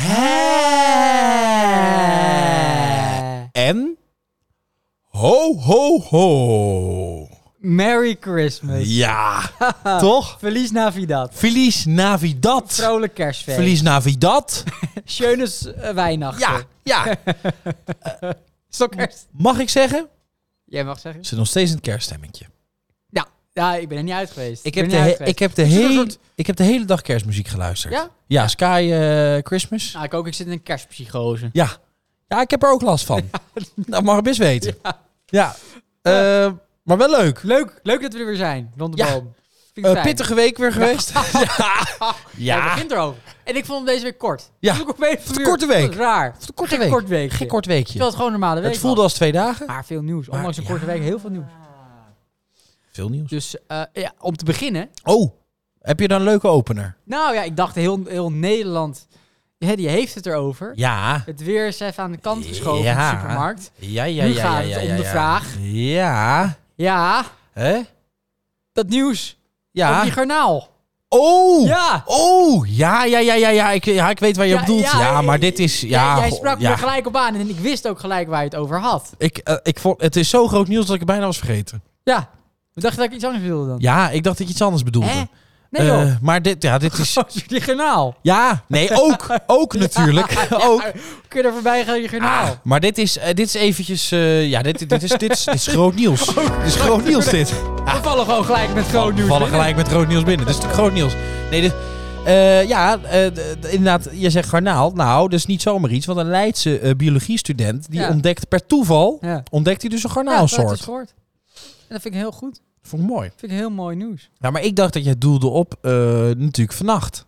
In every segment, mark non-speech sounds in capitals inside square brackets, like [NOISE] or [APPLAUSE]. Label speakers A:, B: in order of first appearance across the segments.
A: Eh.
B: Eh.
A: Ho, ho, ho.
B: Merry Christmas.
A: [LAUGHS] Ja, toch?
B: Verlies Navidad.
A: Feliz Navidad.
B: Vrolijk kerstfeest.
A: Feliz Navidad.
B: Schönes eh, Weihnachten.
A: Ja, ja.
B: Stokkers.
A: Mag ik zeggen?
B: Hm. Jij mag zeggen.
A: Ze zit nog steeds in het kerststemmetje.
B: Ja. Ja, ik ben er niet uit geweest.
A: Ik heb,
B: ben
A: de
B: er niet
A: he-
B: uit geweest.
A: ik, heb de
B: Is er een
A: hele,
B: soort-
A: ik heb de hele dag kerstmuziek geluisterd.
B: Ja?
A: Ja, Sky eh, Christmas.
B: Nou, ik ook. Ik zit in een kerstpsychose.
A: Ja. Ja, ik heb er ook last
B: [LAUGHS]
A: van. Dat mag ik best weten. Ja. Eh, maar wel leuk.
B: Leuk, leuk dat we er weer zijn, rond de
A: Ja.
B: boom. Vind ik
A: Eh,
B: fijn.
A: pittige week weer
B: [LAUGHS]
A: geweest. [LAUGHS] ja.
B: Ah, Hij
A: ja.
B: begint erover. En ik vond hem deze week kort.
A: Ja.
B: Dus ik op een of andere
A: korte
B: manier-
A: week.
B: Dat is raar.
A: Een korte
B: Gek
A: week.
B: kort weekje.
A: Gek kort weekje.
B: Terwijl het gewoon een normale week
A: Het voelde
B: was.
A: als twee dagen.
B: Maar veel nieuws. Ondanks een
A: ja.
B: korte week heel veel nieuws.
A: Veel nieuws.
B: Dus eh, ja, om te beginnen.
A: Oh, heb je dan een leuke opener?
B: Nou ja, ik dacht heel, heel Nederland, hè, die heeft het erover.
A: Ja.
B: Het weer is even aan de kant geschoven
A: Ja.
B: in de supermarkt.
A: Ja, ja,
B: Nu
A: ja.
B: gaat
A: ja,
B: het
A: ja,
B: om
A: ja,
B: de
A: ja.
B: vraag.
A: Ja.
B: Ja,
A: Hè?
B: dat nieuws. Op die
A: Ja.
B: garnaal.
A: Oh.
B: Ja.
A: Oh, ja, ja, ja, ja, ja. Ik, ja, ik weet waar je
B: Ja,
A: op doelt.
B: ja,
A: Ja, maar dit is... Ja,
B: jij, jij
A: goh,
B: sprak me
A: ja.
B: er gelijk op aan en ik wist ook gelijk waar je het over had.
A: Ik, eh, ik vond, het is zo groot nieuws dat ik het bijna was vergeten.
B: Ja, ik dacht dat ik iets anders wilde dan.
A: Ja, ik dacht dat je iets anders bedoelde.
B: Hè? Nee joh, [LAUGHS]
A: Eh, maar dit, ja, dit is...
B: die garnaal.
A: Ja, nee, ook. Ook
B: [LAUGHS]
A: natuurlijk. ook.
B: Kun je er voorbij gaan, die garnaal.
A: Ah, maar dit is, eh, dit is eventjes... eh, ja, dit, dit, is, dit, is, dit is groot nieuws.
B: [LAUGHS] Oh,
A: Dit is groot nieuws, dit.
B: We vallen gewoon gelijk met groot
A: We
B: Oh, nieuws
A: Ah. vallen
B: binnen.
A: gelijk met rood nieuws binnen. Dit is natuurlijk groot nieuws. Nee, dit, eh, ja, eh, d- d- inderdaad, je zegt garnaal. Nou, dat is niet zomaar iets. Want een Leidse eh, biologiestudent, die
B: Ja.
A: ontdekt per toeval...
B: Ja.
A: ontdekt hij dus een
B: Ja, dat is
A: garnaalsoort.
B: gehoord. En dat vind ik heel goed.
A: Vond ik mooi.
B: Dat vind ik heel mooi nieuws.
A: Ja, maar ik dacht dat jij doelde op eh, natuurlijk vannacht.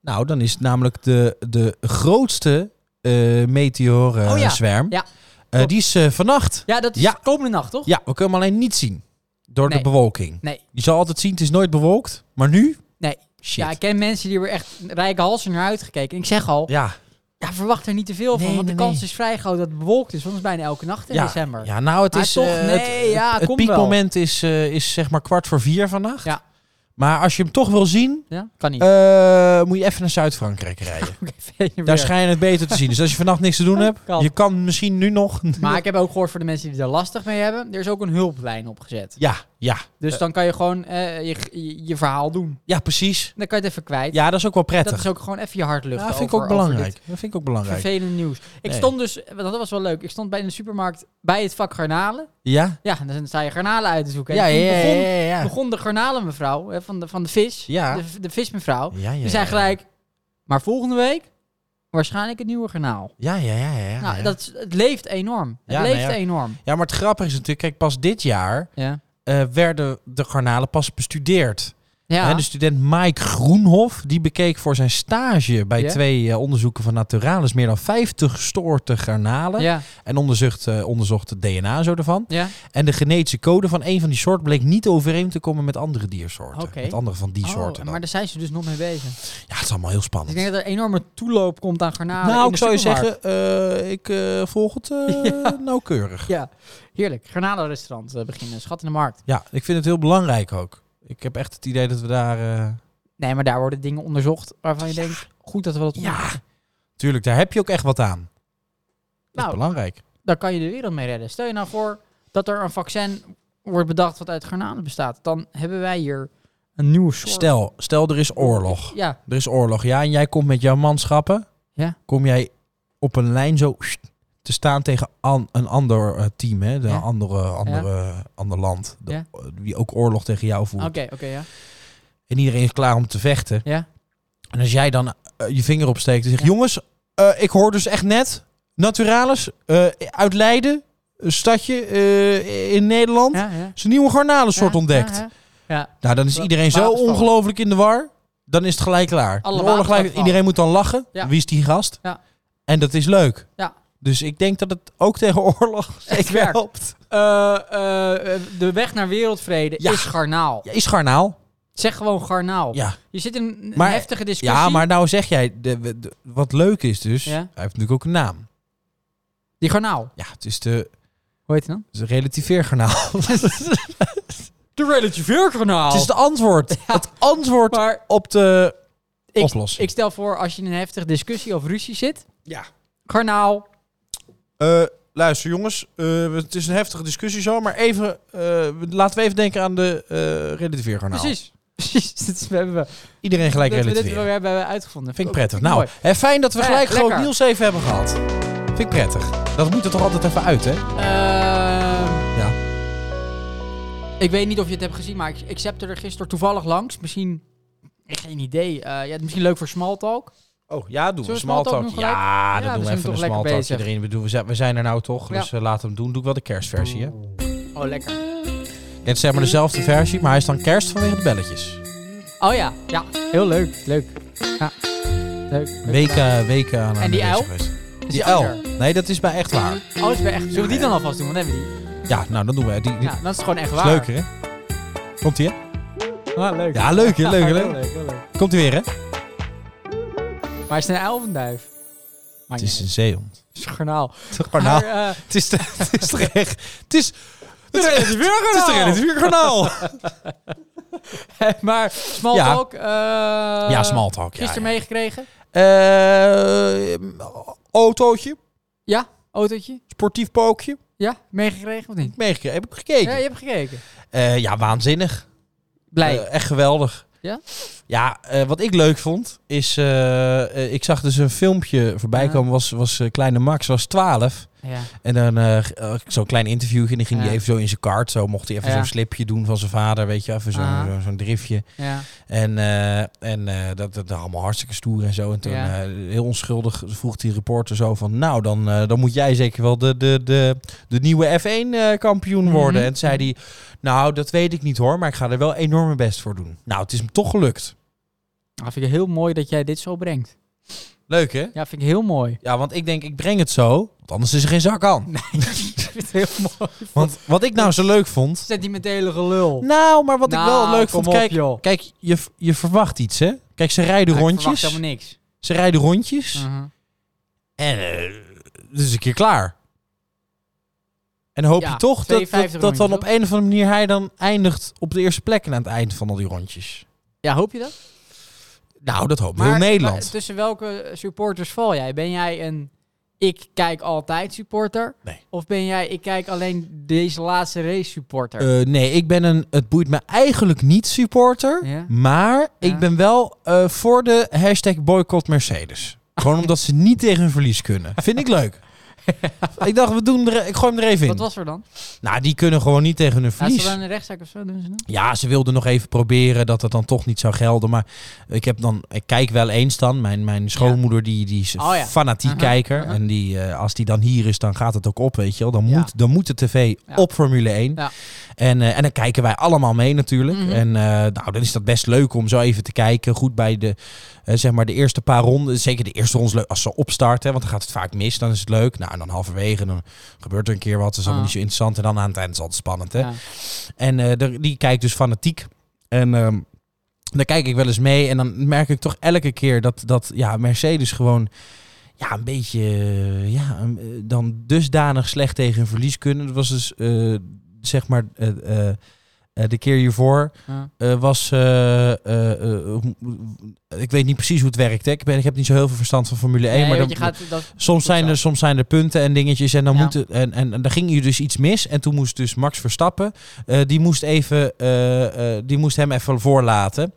A: Nou, dan is het namelijk de, de grootste eh
B: Oh ja,
A: meteorenzwerm.
B: ja.
A: Eh, die is eh, vannacht.
B: Ja, dat is
A: Ja.
B: komende nacht, toch?
A: Ja, we kunnen hem alleen niet zien. Door
B: Nee.
A: de bewolking.
B: Nee.
A: Je zal altijd zien, het is nooit bewolkt. Maar nu?
B: Nee.
A: Shit.
B: Ja, ik ken mensen die er echt rijke halsen naar uitgekeken. En ik zeg al, ja.
A: Ja,
B: verwacht er niet te veel van,
A: Nee,
B: want de
A: nee,
B: kans
A: nee.
B: is vrij groot dat het bewolkt is. Want het is bijna elke nacht in
A: Ja,
B: december.
A: ja, nou het
B: Maar
A: is...
B: toch,
A: eh, het-
B: nee, ja,
A: het
B: komt
A: piekmoment is, eh, is zeg maar kwart voor vier vannacht.
B: Ja.
A: Maar als je hem toch wil zien,
B: Ja, kan niet.
A: eh, moet je even naar Zuid-Frankrijk rijden.
B: [LAUGHS] Oké, verder
A: Daar
B: weer.
A: schijn je het beter te zien. Dus als je vannacht niks te doen hebt,
B: Kan.
A: je kan misschien nu
B: [LAUGHS]
A: nog.
B: Maar ik heb ook gehoord voor de mensen die daar lastig mee hebben, er is ook een hulplijn opgezet.
A: Ja, ja,
B: Dus
A: Eh.
B: dan kan je gewoon eh, je, je, je verhaal doen.
A: ja, precies.
B: En dan kan je het even kwijt.
A: Ja, dat is ook wel
B: dat
A: prettig.
B: is ook gewoon even je hart luchten
A: Ja, dat vind ik
B: over-
A: ook
B: over dit
A: belangrijk. Dat vind ik ook belangrijk.
B: Vervelend nieuws. Ik
A: Nee.
B: stond dus, want dat was wel leuk. Ik stond bij in de supermarkt bij het vak garnalen.
A: Ja?
B: Ja, en dan sta je garnalen uit te zoeken. En
A: Ja, ja,
B: toen
A: ja,
B: begon,
A: ja, ja.
B: begon de garnalenmevrouw hè, van, de, van de vis,
A: Ja.
B: de, de vismevrouw,
A: Ja, ja,
B: die zei
A: ja.
B: gelijk, maar volgende week waarschijnlijk het nieuwe garnaal.
A: Ja, ja, ja, ja. ja,
B: nou,
A: ja.
B: Dat, is- het leeft enorm. Het
A: Ja, nou
B: leeft
A: ja.
B: enorm.
A: ja, maar het grappige is natuurlijk, kijk, pas dit jaar
B: Ja.
A: eh, werden de garnalen pas bestudeerd.
B: Ja.
A: Hè, dus- de student Mike Groenhof, die bekeek voor zijn stage bij
B: Ja.
A: twee eh, onderzoeken van Naturalis meer dan 50 soorten garnalen.
B: ja.
A: En onderzocht, eh, onderzocht het DNA en zo ervan.
B: ja.
A: En de genetische code van een van die soorten bleek niet overeen te komen met andere diersoorten.
B: Oké.
A: Met andere van die soorten.
B: Oh,
A: dan.
B: maar daar zijn ze dus nog mee bezig. Dus
A: Ja, het is allemaal heel spannend.
B: ik denk dat er enorme toeloop komt aan garnalen
A: nou,
B: in
A: ik
B: de
A: zou je
B: supermarkt.
A: zeggen, eh, ik eh, volg het
B: [LAUGHS]
A: eh, nauwkeurig.
B: Ja, heerlijk. Garnalenrestaurant eh, beginnen. Schat in de markt.
A: Ja, ik vind het heel belangrijk ook. Ik heb echt het idee dat we daar... eh,
B: Nee, maar daar worden dingen onderzocht waarvan je denkt, goed dat we dat onderzoeken.
A: ja, tuurlijk, daar heb je ook echt wat aan. Dat is
B: Nou.
A: belangrijk.
B: Daar kan je de wereld mee redden. Stel je nou voor dat er een vaccin wordt bedacht wat uit garnalen bestaat. Dan hebben wij hier een nieuwe soort.
A: Stel, stel er is oorlog.
B: Ja,
A: Er is oorlog, ja. En jij komt met jouw manschappen.
B: Ja.
A: Kom jij op een lijn zo sst, te staan tegen an- een ander eh, team, hè? De
B: Ja.
A: andere, andere, ander land. De-
B: Ja.
A: Die ook oorlog tegen jou voert.
B: oké, oké, ja.
A: En iedereen is klaar om te vechten.
B: Ja.
A: En als jij dan eh, je vinger opsteekt en zegt...
B: Ja.
A: Jongens, eh, ik hoor dus echt net... Naturalis eh, uit Leiden, een stadje eh, in Nederland...
B: ja, ja.
A: is een nieuwe garnalensoort
B: Ja,
A: ontdekt.
B: ja, ja. Ja.
A: Nou, dan is
B: Wa-
A: iedereen zo
B: watervallen.
A: ongelooflijk in de war. Dan is het gelijk klaar.
B: Alle
A: De oorlog gelijk,
B: watervallen.
A: iedereen moet dan lachen.
B: Ja.
A: Wie is die gast?
B: Ja.
A: En dat is leuk.
B: Ja.
A: Dus ik denk dat het ook tegen oorlog
B: [LAUGHS]
A: zeker
B: werkt.
A: helpt.
B: Eh, eh, de weg naar wereldvrede
A: Ja.
B: is garnaal.
A: Ja, is garnaal.
B: Zeg gewoon garnaal.
A: Ja.
B: Je zit in een
A: Maar-
B: heftige discussie.
A: ja, maar nou zeg jij, de, we- de- wat leuk is dus,
B: Ja.
A: hij heeft natuurlijk ook een naam.
B: Die garnaal.
A: Ja, het is de,
B: Hoe heet die dan?
A: de relativeergarnaal. het
B: De
A: [LAUGHS]
B: relativeergarnaal. [LAUGHS]
A: is de antwoord. Het antwoord
B: Maar
A: op de
B: ik,
A: oplossing.
B: ik stel voor, als je in een heftige discussie of ruzie zit,
A: ja.
B: garnaal,
A: Eh, luister jongens, eh, we- het is een heftige discussie zo, maar even, eh, we- laten we even denken aan de eh relativeergarnaal.
B: Precies. [LAUGHS] Precies. Dit is- we hebben we.
A: Iedereen gelijk
B: dat we dit
A: relativeren.
B: hebben we uitgevonden.
A: Vind ik
B: Ook
A: prettig.
B: vind
A: Nou,
B: ik
A: hè, fijn dat we
B: Ja,
A: gelijk groot
B: lekker.
A: nieuws even hebben gehad. Vind ik prettig. Dat moet er toch altijd even uit, hè?
B: mooi. Ehm,
A: Ja.
B: Ik weet niet of je het hebt gezien, maar ik, ik zette er gisteren toevallig langs. Misschien, ik geen idee. Eh, ja, het is misschien leuk voor Smalltalk.
A: Oh, ja, doen
B: Zullen
A: we. Small
B: we smalltalk
A: talk.
B: doen gelijk?
A: Ja, dat
B: Ja,
A: doen
B: we
A: we
B: zijn
A: even
B: toch
A: een
B: lekker
A: small talkje
B: bezig.
A: erin. We, doen, we, zijn, we zijn er nou toch,
B: Ja.
A: dus eh, laten we hem doen. Doe ik wel de kerstversie, hè?
B: Oh, lekker.
A: Het is zeg maar dezelfde versie, maar hij is dan kerst vanwege de belletjes.
B: Oh ja, ja. Heel leuk. Leuk. Ja. Leuk.
A: Weken, weken aan haar
B: die
A: bezig
B: uil?
A: geweest.
B: Is
A: Die
B: die
A: uil?
B: ander?
A: Nee, dat is bij echt waar.
B: Oh, is weer echt. Zullen we die dan alvast doen? Want dan hebben we
A: Ja, nou, dan doen we die.
B: die.
A: die
B: Ja, dan is het gewoon echt
A: is
B: waar.
A: leuker, hè? Komt ie, hè?
B: Ah, leuk.
A: Ja, leuk, hè?
B: [LAUGHS]
A: Leuk, hè?
B: heel leuk, heel leuk.
A: Komt ie weer, hè?
B: Maar is het een uil of een duif? Maar
A: Het is een zeehond.
B: is een garnaal.
A: Het is een garnaal.
B: Maar, eh,
A: Het is, de- het is toch echt... Het is... Het is, het
B: Het
A: is de relativuurgarnaal.
B: eh, [LAUGHS] maar Smalltalk. Ja,
A: Ja, smalltalk. Ja,
B: Gisteren
A: ja.
B: meegekregen.
A: Eh, autootje.
B: Autootje.
A: Sportief pookje.
B: Ja, meegekregen of niet?
A: Meegekregen. Heb ik
B: Ja,
A: gekeken.
B: je hebt gekeken.
A: Eh, ja, waanzinnig.
B: Blij.
A: Eh, echt geweldig.
B: Ja?
A: Ja, eh, wat ik leuk vond is... eh, eh, ik zag dus een filmpje voorbij
B: Ja.
A: komen. Was, was eh, kleine Max, was 12.
B: ja.
A: En dan eh, g- eh, zo'n klein interviewtje. En dan ging hij
B: Ja.
A: even zo in zijn kart. Zo mocht hij even
B: Ja.
A: zo'n slipje doen van zijn vader. Weet je, even zo'n
B: Ah.
A: zo- zo'n driftje.
B: ja.
A: En, eh, en eh, dat, dat allemaal hartstikke stoer en zo. En toen
B: Ja.
A: eh, heel onschuldig vroeg die reporter zo van... Nou, dan, eh, dan moet jij zeker wel de, de, de, de nieuwe F1-kampioen worden.
B: Mhm.
A: En toen zei hij... Nou, dat weet ik niet hoor, maar ik ga er wel enorm mijn best voor doen. Nou, het is hem toch gelukt.
B: Nou, vind ik heel mooi dat jij dit zo brengt.
A: Leuk, hè?
B: Ja, vind ik heel
A: [LAUGHS]
B: mooi. [LAUGHS]
A: Ja, want ik denk, ik breng het zo. Want anders is er geen zak aan.
B: ik vind het heel mooi.
A: Want wat ik nou zo leuk vond...
B: Sentimentele gelul.
A: Nou, maar wat ik wel leuk
B: kom
A: vond...
B: op,
A: Kijk,
B: joh.
A: kijk je, v- je verwacht iets, hè? Kijk, ze rijden
B: Ik verwacht
A: rondjes.
B: helemaal niks.
A: Ze rijden rondjes.
B: Mhm.
A: En eh, het is een keer klaar. En hoop
B: Ja,
A: je toch dat, dat, dat
B: 52
A: dan
B: rondjes,
A: op een of andere manier hij dan eindigt op de eerste plek en aan het eind van al die rondjes.
B: Ja, hoop je dat?
A: Nou, dat hoopt heel Nederland.
B: maar eh, tussen welke supporters val jij? Ben jij een ik kijk altijd supporter?
A: Nee.
B: Of ben jij ik kijk alleen deze laatste race supporter?
A: Eh, nee, ik ben een het boeit me eigenlijk niet supporter.
B: Ja.
A: Maar ik
B: Ja.
A: ben wel eh, voor de hashtag boycott Mercedes. Gewoon omdat ze niet tegen hun verlies kunnen. Vind ik
B: [LAUGHS]
A: leuk. Ik dacht, we doen er, ik gooi hem er even in.
B: Wat was er dan?
A: Nou, die kunnen gewoon niet tegen hun
B: Ja, is
A: verlies.
B: er dan een rechtszaak of zo? Doen ze dat?
A: Ja, ze wilden nog even proberen dat het dan toch niet zou gelden. Maar ik heb dan, ik kijk wel eens dan. Mijn, mijn schoonmoeder, die, die is
B: Oh ja.
A: fanatiek
B: Aha,
A: kijker.
B: aha.
A: En die, eh, als die dan hier is, dan gaat het ook op, weet je wel. Dan,
B: Ja.
A: moet, dan moet de tv
B: Ja.
A: op Formule 1.
B: Ja.
A: En, eh, en dan kijken wij allemaal mee natuurlijk.
B: Mhm.
A: En eh, nou, dan is dat best leuk om zo even te kijken. Goed bij de, eh, zeg maar de eerste paar ronden. Zeker de eerste ronde is leuk als ze opstarten. Want dan gaat het vaak mis, dan is het leuk. Nou, en dan halverwege, dan gebeurt er een keer wat. Dat is allemaal
B: Ah.
A: niet zo interessant. En dan aan het eind is het altijd spannend, hè.
B: Ja.
A: En eh, daar- die kijkt dus fanatiek. En ehm daar kijk ik wel eens mee. En dan merk ik toch elke keer dat, dat ja, Mercedes gewoon ja, een beetje eh, ja, een- eh, dan dusdanig slecht tegen een verlies kunnen. Dat was dus eh, zeg maar eh, eh, eh, de keer hiervoor.
B: Ja.
A: eh, was, eh, eh, eh, hoe- ik weet niet precies hoe het werkt. Hè. Ik, ben, ik heb niet zo heel veel verstand van Formule 1.
B: Nee,
A: maar
B: want
A: dan,
B: je gaat, dat,
A: Soms zijn,
B: Zo.
A: er, soms zijn er punten en dingetjes. En dan
B: Ja.
A: moeten, en, en, en daar ging hier dus iets mis. En toen moest dus Max Verstappen. eh, die, moest even, eh, eh, die moest hem even voorlaten.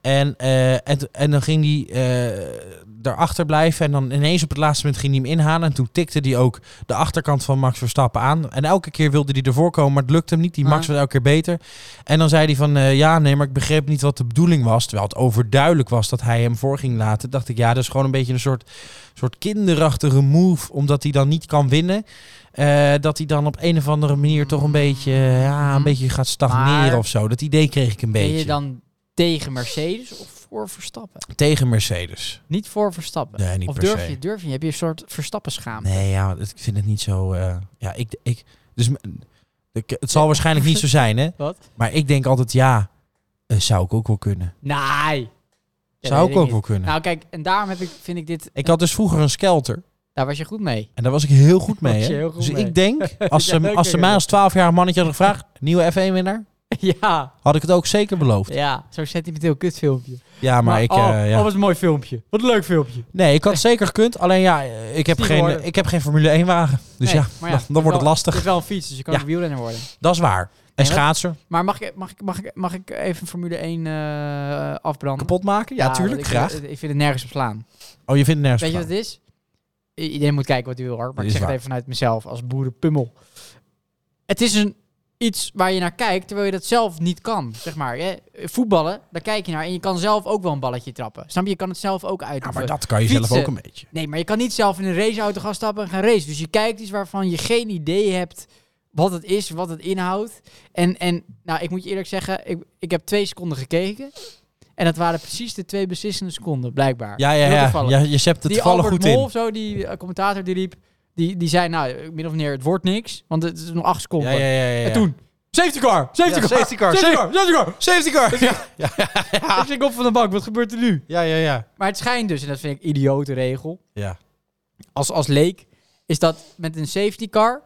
A: En, eh, en, t- en dan ging hij eh daarachter blijven. En dan ineens op het laatste moment ging hij hem inhalen. En toen tikte hij ook de achterkant van Max Verstappen aan. En elke keer wilde hij ervoor komen, maar het lukte hem niet. Die Max
B: Ah.
A: was elke keer beter. En dan zei hij van, eh, ja, nee, maar ik begreep niet wat de bedoeling was. Terwijl het overduidelijk was dat hij hem voor ging laten. Dacht ik, ja, dat is gewoon een beetje een soort, soort kinderachtige move. Omdat hij dan niet kan winnen. Eh, dat hij dan op een of andere manier toch een beetje, ja, een
B: Mhm.
A: beetje gaat stagneren
B: Mm. Maar-
A: of zo. Dat idee kreeg ik een
B: ben
A: beetje.
B: je dan tegen Mercedes of voor Verstappen?
A: Tegen Mercedes.
B: Niet voor Verstappen.
A: Nee, niet
B: of
A: per
B: durf
A: se.
B: je, durf je? Heb je een soort Verstappen schaam?
A: Nee, ja, het- ik vind het niet zo. eh, ja, ik, ik, dus, m- ik- het zal waarschijnlijk niet zo zijn, hè?
B: [LAUGHS] Wat?
A: Maar ik denk altijd, ja, eh, zou ik ook wel kunnen.
B: Nee. Ja,
A: zou
B: weet
A: ik ook
B: niet.
A: wel kunnen.
B: Nou kijk, en daarom heb ik, vind ik dit...
A: ik had dus vroeger een skelter.
B: Daar was je goed mee.
A: En daar was ik heel goed mee.
B: [LAUGHS] Was je
A: Hè?
B: heel goed
A: dus
B: mee. [LAUGHS]
A: ik denk, als
B: Ja,
A: ze,
B: leuk,
A: als ze
B: hè,
A: mij
B: joh.
A: als 12-jarig mannetje hadden gevraagd, nieuwe F1-winnaar,
B: [LAUGHS] ja,
A: Had ik het ook zeker beloofd.
B: ja. Zo'n sentimenteel kutfilmpje.
A: Ja, maar, ik...
B: oh,
A: eh, ja.
B: oh, wat een mooi filmpje. Wat een leuk filmpje.
A: Nee, ik had het zeker gekund. Alleen ja, eh, ik heb,
B: Steven
A: geen,
B: Warden.
A: ik heb geen Formule 1 wagen. Dus ja,
B: Nee, maar
A: dan,
B: het is
A: dan wordt het
B: wel-
A: lastig.
B: Het is wel een fiets, dus je kan
A: Ja.
B: ook wielrenner worden.
A: Dat is waar. En
B: wat-
A: schaatsen.
B: Maar mag ik, mag ik, mag ik, mag ik even Formule 1 eh, afbranden?
A: Kapot maken? Ja,
B: want
A: tuurlijk.
B: ik
A: graag.
B: Vind, het- ik vind het nergens op slaan.
A: oh, je vindt het nergens
B: Weet je
A: van.
B: wat het is? I- Iedereen moet kijken wat hij wil, hoor. Maar
A: Dit
B: ik
A: is
B: zeg het
A: waar.
B: even vanuit mezelf als boerenpummel. Het is een, iets waar je naar kijkt, terwijl je dat zelf niet kan, zeg maar. Je, voetballen, daar kijk je naar en je kan zelf ook wel een balletje trappen. Snap je? Je kan het zelf ook uit.
A: Ja, maar dat kan je zelf ook
B: Fietsen.
A: een beetje.
B: Nee, maar je kan niet zelf in een raceauto gaan stappen en gaan racen. Dus je kijkt iets waarvan je geen idee hebt wat het is, wat het inhoudt. En, en nou, ik moet je eerlijk zeggen, ik, ik heb twee seconden gekeken. En dat waren precies de twee beslissende seconden, blijkbaar.
A: Ja, ja,
B: Heel
A: ja.
B: toevallig.
A: ja je zept het
B: die
A: toevallig
B: Albert
A: goed
B: Mol
A: in.
B: of zo, die eh, commentator die riep, die, die zei nou, min of meer, het wordt niks. Want het is nog acht
A: Ja,
B: seconden.
A: ja, ja, ja, ja.
B: En toen, safety car, safety
A: Ja,
B: car,
A: safety car,
B: safety car, safety car.
A: Safety car! [LAUGHS] Ja,
B: Ik schrik op van de bank, wat gebeurt er nu?
A: ja, ja. ja.
B: Maar het schijnt dus, en dat vind ik een idiote regel,
A: ja.
B: als, als leek, is dat met een safety car,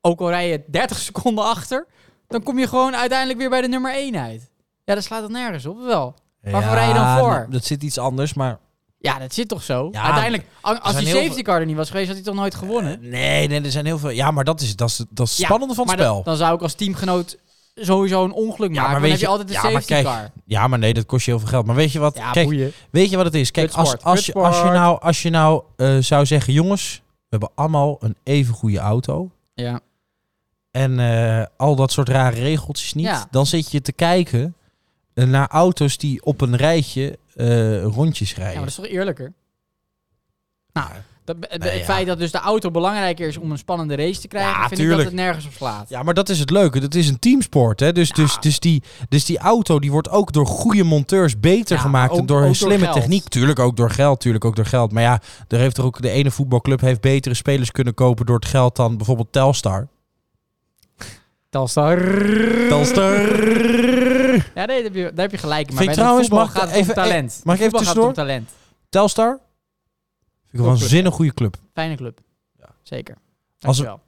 B: ook al rij je 30 [LAUGHS] seconden achter, dan kom je gewoon uiteindelijk weer bij de nummer 1 uit. Ja, dat slaat dat nergens op, wel. Waarvoor
A: Ja,
B: rij je dan voor?
A: nou, Dat zit iets anders, maar...
B: Ja, dat zit toch zo?
A: Ja,
B: uiteindelijk, a- als
A: zijn
B: die
A: heel
B: safety car er niet was geweest, had hij toch nooit gewonnen?
A: Nee, nee, er zijn heel veel... Ja, maar dat is, dat is, dat is het
B: Ja,
A: spannende van het
B: maar dan-
A: spel.
B: Dan, zou ik als teamgenoot sowieso een ongeluk
A: Ja,
B: maken.
A: maar
B: dan
A: weet
B: heb je
A: je-
B: altijd een
A: ja, maar
B: safety
A: kijk,
B: car.
A: Ja, maar nee, dat kost je heel veel geld. Maar weet je wat?
B: Ja,
A: kijk,
B: boeien.
A: Weet je wat het is? Kijk, als,
B: Kutsport,
A: als, je, als je
B: kutsport.
A: nou, als je nou eh, zou zeggen, jongens, we hebben allemaal een even goede auto.
B: Ja.
A: En eh, al dat soort rare regeltjes niet.
B: Ja.
A: Dan zit je te kijken eh, naar auto's die op een rijtje eh, rondjes
B: ja, maar
A: rijden.
B: dat is toch eerlijker? Nou,
A: Ja.
B: dat, het
A: Nee, ja.
B: feit dat dus de auto belangrijker is om een spannende race te krijgen,
A: Ja,
B: vind ik
A: tuurlijk.
B: dat het nergens op slaat.
A: Ja, maar dat is het leuke. Dat is een teamsport. Hè? Dus, dus,
B: Ja.
A: dus, die, dus die auto die wordt ook door goede monteurs beter
B: Ja,
A: gemaakt.
B: maar
A: en
B: ook-
A: door
B: ook
A: hun
B: door
A: slimme
B: geld.
A: techniek. Tuurlijk ook door geld. Tuurlijk ook door geld. Maar ja, er heeft er ook, de ene voetbalclub heeft betere spelers kunnen kopen door het geld dan bijvoorbeeld Telstar.
B: Telstar.
A: Telstar.
B: Ja, nee, daar heb je, daar heb je gelijk. in. Maar
A: Vind
B: bij
A: ik trouwens-
B: trouwens, voetbal
A: mag ik
B: gaat het
A: even- eh,
B: om talent.
A: mag ik even
B: Voetbal gaat het om talent.
A: Telstar? Vind ik een
B: Topclub,
A: waanzinnig goede club.
B: Fijne club.
A: Ja.
B: Zeker.
A: Als-
B: Dankjewel.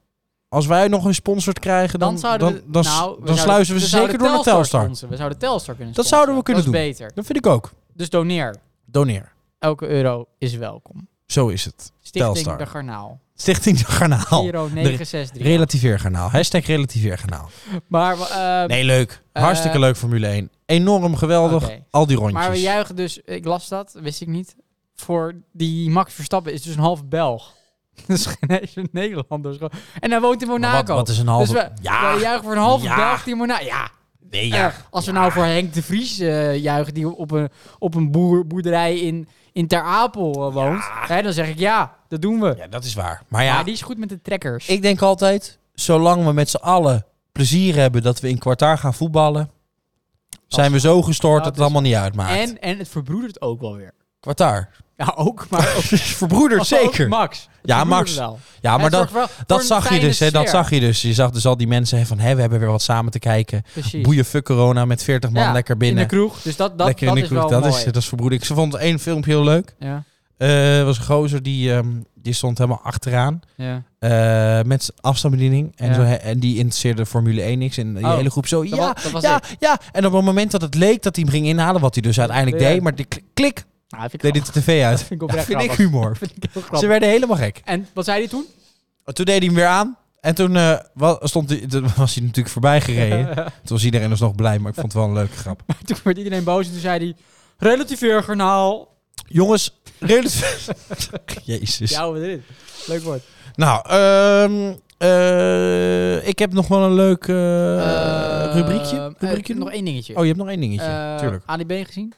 A: Als wij nog een sponsor krijgen, dan,
B: Dan zouden
A: dan,
B: we...
A: dan,
B: nou, we
A: dan
B: zouden-
A: sluizen we ze
B: zouden
A: zeker door naar Telstar.
B: sponsoren. We zouden Telstar kunnen
A: Dat
B: sponsoren.
A: zouden we kunnen
B: Dat is beter.
A: Dat vind ik ook.
B: Dus doneer.
A: Doneer.
B: Elke euro is welkom.
A: Zo is het.
B: Stichting
A: Telstar.
B: De Garnaal.
A: Stichting de Garnaal.
B: Giro 963.
A: Relativeergarnaal. Hashtag relativeergarnaal.
B: Maar, we, eh,
A: Nee, leuk.
B: Eh,
A: Hartstikke leuk Formule 1. Enorm geweldig.
B: oké.
A: Al die rondjes.
B: maar we juichen dus... Ik las dat, wist ik niet. Voor die Max Verstappen is dus een half Belg. [LAUGHS] Dat is geen is een Nederlander. is gewoon- En hij woont in
A: Maar
B: Monaco.
A: Wat, wat is een halve...
B: Dus we,
A: ja,
B: we juichen voor een halve
A: Ja.
B: Belg die Monaco... Ja,
A: nee, ja.
B: Erg. Als we nou voor Henk de Vries eh, juichen, die op een, op een boer, boerderij in, in Ter Apel eh, woont, hè, dan zeg ik ja, dat doen we.
A: ja, dat is waar. Maar
B: Ja,
A: ja,
B: die is goed met de trekkers.
A: ik denk altijd, zolang we met z'n allen plezier hebben dat we in kwartaar gaan voetballen, zijn we zo gestoord
B: Dat
A: dat, het
B: is-
A: allemaal niet uitmaakt.
B: en, en het verbroedert ook wel weer.
A: Kwartaar. [LAUGHS]
B: Ja, ook, maar ook,
A: Verbroederd,
B: ook
A: zeker.
B: Max. Het
A: Ja,
B: verbroedert
A: Max.
B: Wel.
A: ja, maar
B: Het
A: dat,
B: Oh, zorgt wel voor
A: dat
B: een
A: zag je
B: fijne
A: dus. Hè, dat
B: sfeer.
A: zag je dus. Je zag dus al die mensen van, hé, we hebben weer wat samen te kijken.
B: Precies.
A: Boeien fuck corona met 40 man
B: Ja,
A: lekker
B: In de
A: binnen.
B: kroeg. Dus dat, dat,
A: lekker
B: dat
A: in de
B: is
A: kroeg.
B: wel
A: Dat
B: mooi.
A: is, dat is verbroedering. Ze vond één filmpje heel leuk.
B: Ja,
A: Eh, was een gozer die, ehm, die stond helemaal achteraan
B: ja.
A: eh, met z'n afstandsbediening. En,
B: Ja.
A: zo, he- en die interesseerde Formule 1 niks. En die
B: Oh.
A: hele groep zo,
B: Dat
A: ja,
B: was, dat was
A: ja,
B: ik.
A: ja. En op het moment dat het leek dat hij hem ging inhalen, wat hij dus uiteindelijk
B: Ja.
A: deed, maar die klik, klik,
B: Nou, dat vind ik
A: deed hij de tv
B: grappig.
A: uit.
B: vind ik
A: Dat
B: oprecht
A: [LAUGHS] vind ik
B: grappig.
A: humor.
B: Vind ik heel
A: Ze
B: grappig.
A: werden helemaal gek.
B: En wat zei hij toen?
A: Oh, Toen deed hij hem weer aan. En toen eh, wa- stond hij, toen was hij natuurlijk voorbij gereden. Toen was iedereen dus nog blij, maar ik vond het wel een leuke grap.
B: [LAUGHS] toen werd iedereen boos en toen zei hij... Relativeer garnaal.
A: Jongens, relatief... [LAUGHS] Jezus.
B: Ja, wat is dit? Leuk woord.
A: Nou, ehm, eh, ik heb nog wel een leuk eh,
B: Eh, eh,
A: rubriekje. rubriekje
B: nog
A: doen?
B: één dingetje.
A: Oh, je hebt nog één dingetje.
B: Eh,
A: Tuurlijk.
B: ADB gezien?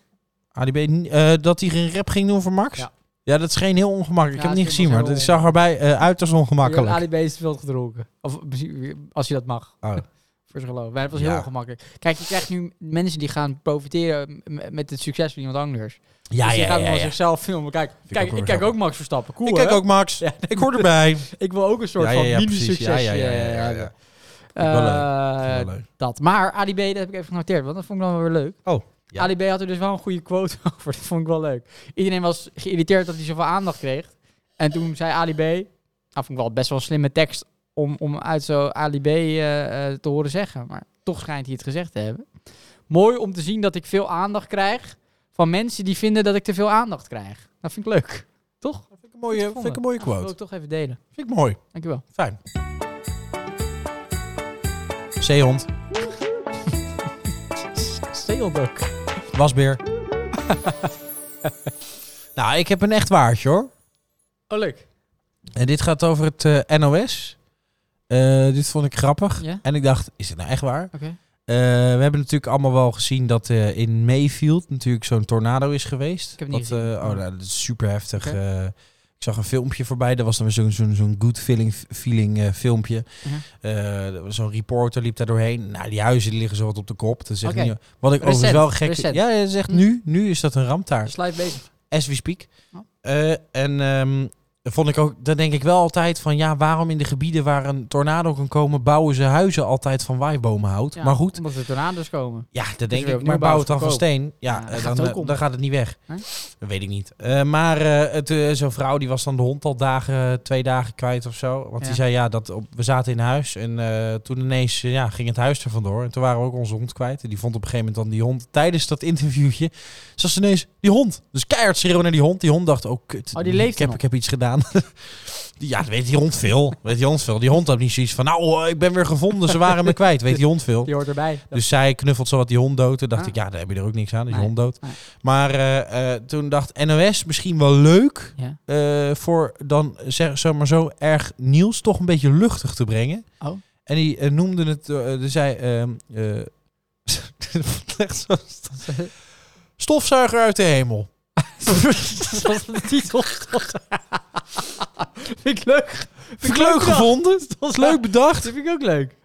A: ADB, eh, dat hij geen rap ging doen voor Max?
B: Ja.
A: Ja, dat is geen heel ongemakkelijk.
B: Ja,
A: ik heb het niet
B: dat
A: gezien,
B: was
A: maar
B: heel
A: het zag erbij eh uit als ongemakkelijk.
B: ADB is te veel gedronken. Of misschien, als je dat mag.
A: Oh.
B: Voor zijn geloof. Maar het was
A: Ja.
B: heel ongemakkelijk. Kijk, je krijgt nu mensen die gaan profiteren m- met het succes van iemand anders.
A: ja,
B: dus die
A: ja,
B: gaan
A: ja.
B: wel
A: ja.
B: zichzelf filmen. Kijk,
A: ik ook
B: kijk
A: wel
B: ik kijk
A: grappig.
B: ook Max Verstappen. Cool,
A: eh, ik kijk
B: hè?
A: ook Max.
B: Ja.
A: [LAUGHS] Ik hoor erbij.
B: Ik wil ook een soort
A: ja,
B: van
A: ja, ja, precies. Ja,
B: mini-succes.
A: ja, ja, ja, ja,
B: eh,
A: ja.
B: hebben.
A: wel leuk. Wel
B: Eh,
A: leuk.
B: dat. Maar ADB, dat heb ik even genoteerd, want dat vond ik dan wel weer leuk.
A: Oh, ja.
B: ADB had er dus wel een goede quote [LAUGHS] over, dat vond ik wel leuk. Iedereen was geïrriteerd dat hij zoveel aandacht kreeg. En toen zei ADB, nou vond ik wel best wel een slimme tekst om, om uit zo ADB eh eh, te horen zeggen. Maar toch schijnt hij het gezegd te hebben. Mooi om te zien dat ik veel aandacht krijg van mensen die vinden dat ik te veel aandacht krijg. Dat vind ik leuk. Toch?
A: Vind ik een mooie, vind ik een mooie
B: Nou, dat wil
A: quote.
B: ik toch even delen.
A: Vind ik mooi.
B: Dankjewel.
A: Fijn. Zeehond,
B: Steelt ook.
A: wasbeer. [LAUGHS] nou, ik heb een echt waardje hoor.
B: Oh, leuk.
A: En dit gaat over het eh, NOS. Eh, dit vond ik grappig.
B: Ja?
A: En ik dacht, is het nou echt waar?
B: Oké.
A: Eh, we hebben natuurlijk allemaal wel gezien dat eh, in Mayfield natuurlijk zo'n tornado is geweest.
B: Ik heb het niet
A: Wat, eh,
B: gezien.
A: oh, nou, dat is super heftig.
B: Oké.
A: eh. ik zag een filmpje voorbij. Dat was dan weer zo'n zo'n zo'n good feeling, feeling eh, filmpje.
B: Mhm.
A: Eh, zo'n reporter liep daar doorheen. Nou, die huizen die liggen zo wat op de kop. Dat is echt
B: Oké.
A: niet- wat ik
B: Recent,
A: overigens wel gek
B: recent.
A: Ja, ja, dat is echt
B: Hm.
A: nu. Nu is dat een ramp daar.
B: Sluit bezig.
A: As we speak.
B: Oh.
A: Eh, en ehm, vond ik ook, dan denk ik wel altijd van ja, waarom in de gebieden waar een tornado kan komen, bouwen ze huizen altijd van waaibomenhout.
B: Ja,
A: maar goed,
B: Omdat er tornado's komen.
A: ja, dat denk
B: weer
A: ik.
B: opnieuw
A: Maar bouw
B: bouwen
A: het dan van
B: goedkoop.
A: steen. Ja,
B: Ja,
A: eh,
B: daar gaat
A: dan,
B: het ook
A: eh,
B: om.
A: dan gaat het niet weg.
B: Hè?
A: Dat weet ik niet. Eh, maar eh, het, eh, zo'n vrouw die was dan de hond al dagen, eh, twee dagen kwijt of zo. Want die
B: Ja.
A: zei ja, dat op, we zaten in huis. En eh, toen ineens eh, ja, ging het huis er vandoor. En toen waren we ook onze hond kwijt. En die vond op een gegeven moment dan die hond. Tijdens dat interviewtje zag ze ineens die hond. Dus keihard schreeuwen naar die hond. Die hond dacht, oh kut.
B: Oh, die leeft
A: ik, heb,
B: nog.
A: ik heb iets gedaan. [LAUGHS] Die- ja, dat weet die hond veel. Weet die hond veel. Die hond had niet zoiets van, nou, eh, ik ben weer gevonden. Ze waren me kwijt. Weet die hond veel.
B: Die hoort erbij.
A: Dus zij knuffelt zo wat die hond dood. Toen dacht
B: Ah.
A: ik, ja, daar heb je er ook niks aan, dus die
B: Nee.
A: hond dood.
B: Nee.
A: Maar eh, eh, toen dacht NOS misschien wel leuk [LAUGHS]
B: Ja.
A: eh, voor dan zeg, zeg maar zo erg nieuws toch een beetje luchtig te brengen.
B: Oh.
A: En die eh, noemde het, eh, eh, die zei, ehm, eh, [LAUGHS] echt zo, stofzuiger uit de hemel.
B: Dat was de titel. [LAUGHS] vind ik leuk.
A: Vind ik leuk gevonden, dat is leuk bedacht.
B: Dat vind ik ook leuk.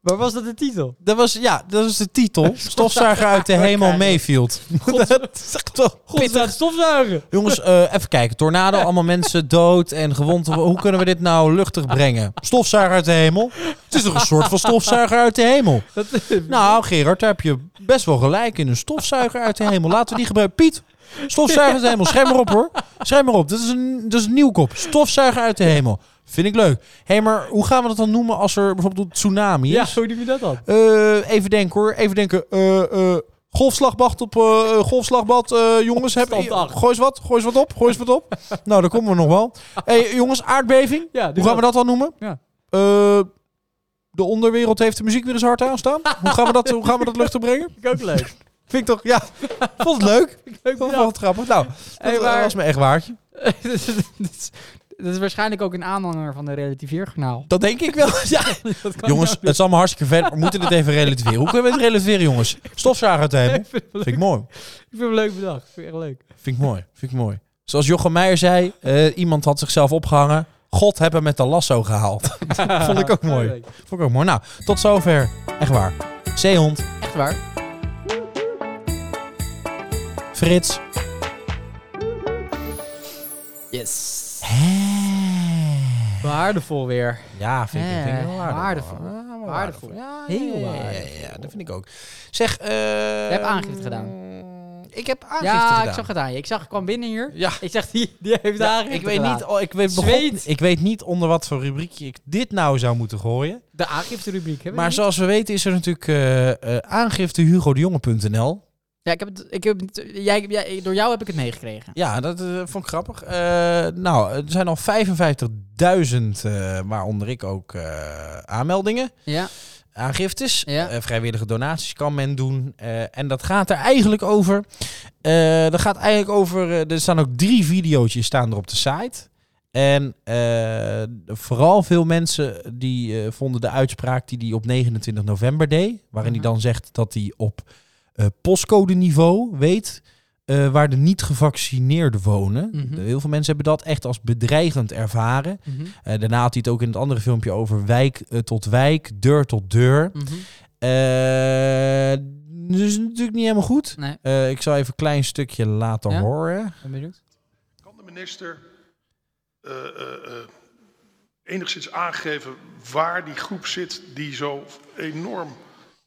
B: Maar was dat de titel?
A: Dat was, ja, dat is de titel. [LAUGHS] Stofzuiger uit de hemel
B: krijgen.
A: Mayfield. [LAUGHS] Dat is echt wel
B: God,
A: pittig.
B: staat stofzuigen. [LAUGHS]
A: Jongens, eh, even kijken. Tornado, allemaal mensen dood en gewond. Hoe kunnen we dit nou luchtig brengen? Stofzuiger uit de hemel? Het is toch een soort van stofzuiger uit de hemel?
B: Dat,
A: Nou, Gerard, daar heb je best wel gelijk in. Een stofzuiger uit de hemel. Laten we die gebruiken. Piet, stofzuiger uit de hemel. Schrijf maar op, hoor. Schrijf maar op. Dat is een, dat is een nieuwkop. Stofzuiger uit de hemel. Vind ik leuk. Hé, maar hoe gaan we dat dan noemen als er bijvoorbeeld een tsunami is?
B: ja, hoe doen we dat dan?
A: Eh, even denken hoor. Even denken. Eh, eh, golfslagbad op. eh eh, golfslagbad. eh, jongens, heb,
B: Stand acht.
A: gooi eens wat. Gooi eens wat op. Gooi eens wat
B: [LAUGHS]
A: op. nou, daar komen we nog wel. hey, jongens, aardbeving.
B: Ja,
A: Hoe gaan we dat dan noemen?
B: Ja.
A: Eh, de onderwereld heeft de muziek weer eens hard aanstaan. Hoe gaan we dat, hoe gaan we dat luchten brengen?
B: Vind ik ook leuk.
A: [LAUGHS] Vind ik toch, ja. Vond het leuk.
B: Vind ik leuk
A: Vond het
B: bedacht.
A: wel grappig. Nou,
B: Hey,
A: dat
B: maar-
A: was me echt waardje.
B: dat, is, dat is waarschijnlijk ook een aanhanger van de relativeerkanaal.
A: Dat denk ik wel. [LAUGHS] Ja.
B: [LAUGHS] Dat kan
A: Jongens, het is allemaal hartstikke vet. maar We moeten dit even relativeren. Hoe kunnen we het relativeren, jongens? Stofzuiger uit de hemel.
B: [LAUGHS] ik, vind het
A: Vind
B: leuk.
A: ik mooi.
B: ik vind hem leuk bedacht. Ik vind het echt leuk.
A: Vind ik mooi, vind ik mooi. Zoals Jochem Meijer zei, eh, iemand had zichzelf opgehangen. God heb hem met de lasso gehaald. Vond ik ook mooi.
B: Leuk.
A: Vond ik ook mooi. Nou, tot zover. Echt waar. Zeehond,
B: Echt waar.
A: Frits.
B: Yes. Waardevol weer.
A: Ja, vind ik, vind ik heel
B: Eh,
A: waardevol.
B: waardevol.
A: Ja, wel
B: Waardevol.
A: Ja,
B: Heel
A: ja, ja, ja, Ja, ja,
B: waardevol.
A: dat vind ik ook. Zeg, eh... Je
B: hebt aangifte gedaan.
A: Ik heb aangifte
B: ja,
A: gedaan.
B: ik zag het aan je. Ik zag, ik kwam binnen hier.
A: Ja.
B: Ik zeg, die, die heeft
A: Ja,
B: daar.
A: ik weet, niet, oh, ik, weet
B: Zweet.
A: begon- ik weet niet onder wat voor rubriekje ik dit nou zou moeten gooien.
B: De aangifterubriek. Hebben we
A: Maar
B: die?
A: zoals we weten is er natuurlijk eh eh aangifte hugodejonge.nl.
B: Ja, ik heb het, ik heb het, jij, jij, door jou heb ik het meegekregen.
A: Ja, dat eh, vond ik grappig. Eh, nou, er zijn al 55.000, eh waaronder ik ook, eh, aanmeldingen.
B: Ja.
A: Aangiftes,
B: Ja.
A: Eh, vrijwillige donaties kan men doen. Eh, en dat gaat er eigenlijk over. Eh dat gaat eigenlijk over. eh, er staan ook drie video's staan er op de site. En eh, vooral veel mensen die eh, vonden de uitspraak die hij op 29 november deed. Waarin hij
B: Mhm.
A: dan zegt dat hij op eh postcode niveau weet eh, waar de niet-gevaccineerden wonen.
B: Mhm.
A: Heel veel mensen hebben dat echt als bedreigend ervaren.
B: Mhm.
A: Eh, daarna had hij het ook in het andere filmpje over wijk eh, tot wijk, deur tot deur.
B: Mhm.
A: Eh, dus natuurlijk niet helemaal goed.
B: Nee,
A: Eh, ik zal even een klein stukje laten
B: Ja?
A: horen.
B: ben benieuwd.
C: Kan de minister eh, eh, eh, enigszins aangeven waar die groep zit die zo enorm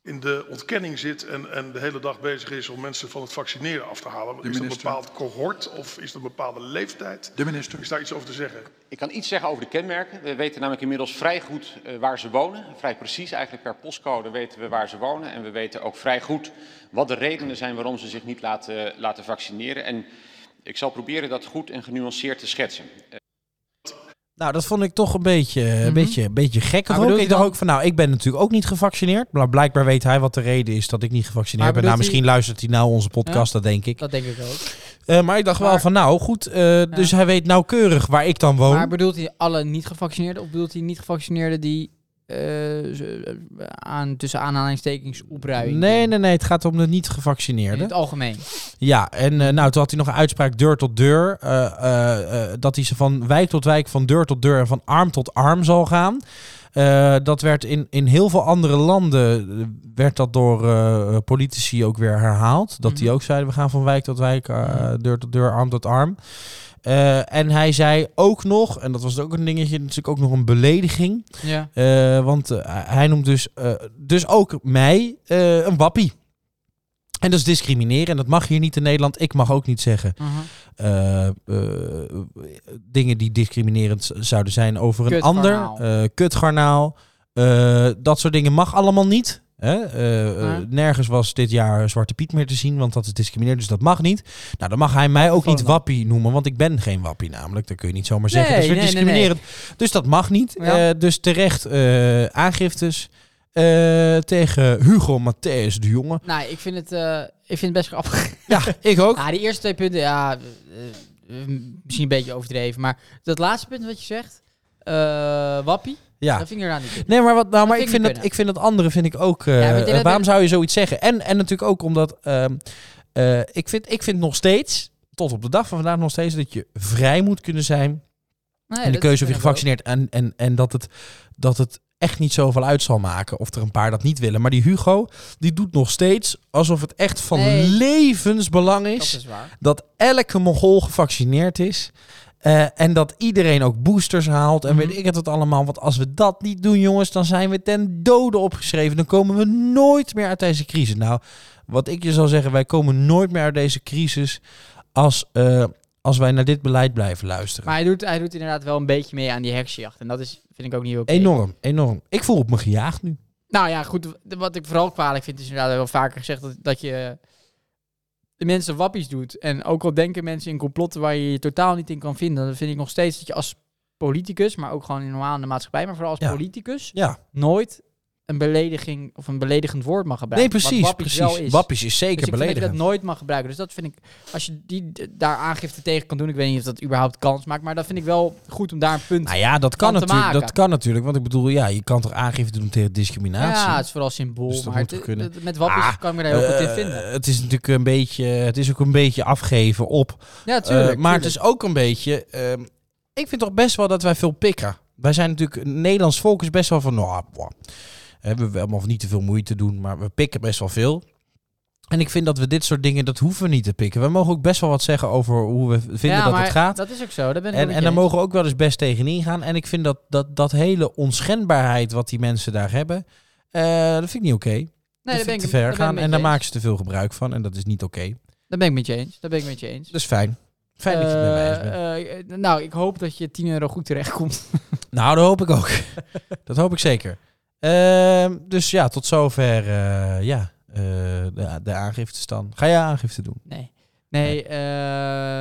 C: in de ontkenning zit en, en de hele dag bezig is om mensen van het vaccineren af te halen. is dat een
D: minister.
C: bepaald cohort of is dat een bepaalde leeftijd?
D: De minister.
C: Is daar iets over te zeggen?
E: Ik kan iets zeggen over de kenmerken. We weten namelijk inmiddels vrij goed eh, waar ze wonen. Vrij precies, eigenlijk per postcode weten we waar ze wonen. En we weten ook vrij goed wat de redenen zijn waarom ze zich niet laten, laten vaccineren. En ik zal proberen dat goed en genuanceerd te schetsen.
A: Nou, dat vond ik toch een beetje, een beetje, een beetje gek.
B: Mhm. Maar
A: ook.
B: bedoelt
A: Ik
B: hij
A: dacht
B: dan-
A: ook van, nou, ik ben natuurlijk ook niet gevaccineerd. Maar blijkbaar weet hij wat de reden is dat ik niet gevaccineerd
B: Maar
A: ben. Nou,
B: bedoelt hij-
A: misschien luistert hij nou onze podcast, dat denk ik.
B: Dat denk ik ook.
A: Eh, maar ik dacht wel
B: Maar-
A: van, nou, goed. eh, Dus hij weet nauwkeurig waar ik dan woon.
B: Maar bedoelt hij alle niet-gevaccineerden of bedoelt hij niet-gevaccineerden die eh, ze- eh, aan, tussen aanhalingstekens opruimen?
A: Nee, nee, nee. Het gaat om de
B: In
A: niet-gevaccineerden.
B: het algemeen.
A: Ja, en eh, nou, toen had hij nog een uitspraak deur tot deur. eh, eh, eh, dat hij ze van wijk tot wijk, van deur tot deur en van arm tot arm zal gaan. Eh, dat werd in, in heel veel andere landen eh, werd dat door eh, politici ook weer herhaald. Dat die ook zeiden, we gaan van wijk tot wijk, eh, deur tot deur, arm tot arm. Eh, en hij zei ook nog, en dat was ook een dingetje, natuurlijk ook nog een belediging.
B: Ja.
A: Eh, want eh, hij noemt dus, eh, dus ook mij eh, een wappie. En dat is discrimineren. En dat mag hier niet in Nederland. Ik mag ook niet zeggen
B: aha.
A: eh, eh, dingen die discriminerend z- zouden zijn over een ander.
B: Kutgarnaal.
A: Eh, kutgarnaal. Eh, dat soort dingen mag allemaal niet. Hè? Eh, eh,
B: Ja.
A: Nergens was dit jaar Zwarte Piet meer te zien, want dat is discriminerend, dus dat mag niet. Nou, dan mag hij mij ook niet
B: Volendam.
A: wappie noemen, want ik ben geen wappie namelijk. Dat kun je niet zomaar zeggen.
B: Nee,
A: dat is weer
B: nee, nee,
A: discriminerend. Dus dat mag niet.
B: Ja.
A: Eh, dus terecht eh, aangiftes eh, tegen Hugo Matthäus de Jonge.
B: Nou, ik vind het, eh, ik vind het best grappig.
A: Ja, ik ook.
B: Ja, die eerste twee punten, ja, eh, eh, misschien een beetje overdreven. Maar dat laatste punt wat je zegt, eh, wappie,
A: Ja.
B: dat vind ik inderdaad niet. kunnen.
A: Nee, maar, wat, nou, maar
B: vind
A: ik,
B: ik
A: vind dat,
B: kunnen.
A: ik vind dat andere vind ik ook. eh,
B: Ja, maar ik denk dat
A: waarom
B: we-
A: zou je zoiets zeggen? En, en natuurlijk ook omdat ehm, eh, ik, vind, ik vind nog steeds, tot op de dag van vandaag nog steeds, dat je vrij moet kunnen zijn
B: Nee,
A: in de
B: dat
A: keuze of je
B: vind ik ook.
A: gevaccineerd en, en, en dat, het, dat het echt niet zoveel uit zal maken of er een paar dat niet willen. Maar die Hugo, die doet nog steeds alsof het echt van
B: Nee.
A: levensbelang
B: Dat
A: is
B: is waar.
A: dat elke Mongool gevaccineerd is. eh, en dat iedereen ook boosters haalt en
B: Mhm.
A: weet ik het wat allemaal. Want als we dat niet doen, jongens, dan zijn we ten dode opgeschreven. Dan komen we nooit meer uit deze crisis. Nou, wat ik je zal zeggen, wij komen nooit meer uit deze crisis als, eh, als wij naar dit beleid blijven luisteren.
B: Maar hij doet, hij doet inderdaad wel een beetje mee aan die heksjacht. En dat is, vind ik ook niet heel oké.
A: Enorm, enorm. Ik voel op me gejaagd nu.
B: Nou ja, goed. w- Wat ik vooral kwalijk vind, is inderdaad wel vaker gezegd dat, dat je de mensen wappies doet. En ook al denken mensen in complotten waar je je totaal niet in kan vinden, dan vind ik nog steeds dat je als politicus, maar ook gewoon in normaal in de maatschappij, maar vooral als
A: Ja.
B: politicus,
A: Ja,
B: nooit een belediging of een beledigend woord mag
A: nee,
B: gebruiken. Wat
A: precies.
B: wappies wel
A: precies.
B: is.
A: Wappies is
B: Dus
A: zeker
B: ik vind dat je dat
A: beledigend.
B: nooit mag gebruiken. Dus dat vind ik, als je die d- daar aangifte tegen kan doen, ik weet niet of dat überhaupt kans maakt, maar dat vind ik wel goed om daar een punt
A: Nou ja, dat kan,
B: Kan te
A: natuurlijk, dat
B: maken.
A: kan natuurlijk. Want ik bedoel, ja, je kan toch aangifte doen tegen discriminatie?
B: Ja, het is vooral symbool,
A: Dus dat
B: maar
A: moet toch
B: het-
A: kunnen?
B: het- met wappies
A: Ah,
B: kan ik me daar heel goed in
A: Eh,
B: vinden.
A: Het is natuurlijk een beetje, het is ook een beetje afgeven op.
B: Ja,
A: Eh,
B: tuurlijk.
A: maar het
B: tuurlijk.
A: is ook een beetje. ehm, ik vind toch best wel dat wij veel pikken. Wij zijn natuurlijk, het Nederlands volk is best wel van. Nou, boah, hebben we allemaal niet te veel moeite doen, maar we pikken best wel veel. En ik vind dat we dit soort dingen, dat hoeven we niet te pikken. We mogen ook best wel wat zeggen over hoe we vinden
B: Ja,
A: dat
B: maar
A: het gaat.
B: Dat is ook zo. Daar ben ik
A: En, en daar mogen we ook wel eens best tegenin gaan. En ik vind dat dat, dat hele onschendbaarheid wat die mensen daar hebben, eh, dat vind ik niet oké.
B: nee,
A: dat
B: daar ben
A: vind
B: ik
A: ik te ver
B: daar ben ik
A: gaan.
B: met
A: En
B: je
A: daar
B: eens.
A: maken ze te veel gebruik van. En dat is niet oké.
B: Daar ben ik met je eens. Daar ben ik met je eens.
A: Dat is fijn. Fijn dat je het met mij eens bent.
B: Eh, eh, eh, nou, ik hoop dat je 10 euro goed
A: [LAUGHS]
B: terechtkomt.
A: Nou, dat hoop ik ook. [LAUGHS] dat hoop ik zeker. Ehm, dus ja, tot zover eh, ja, eh, de, de aangiftes dan. Ga jij aangifte doen?
B: Nee. Nee, eh...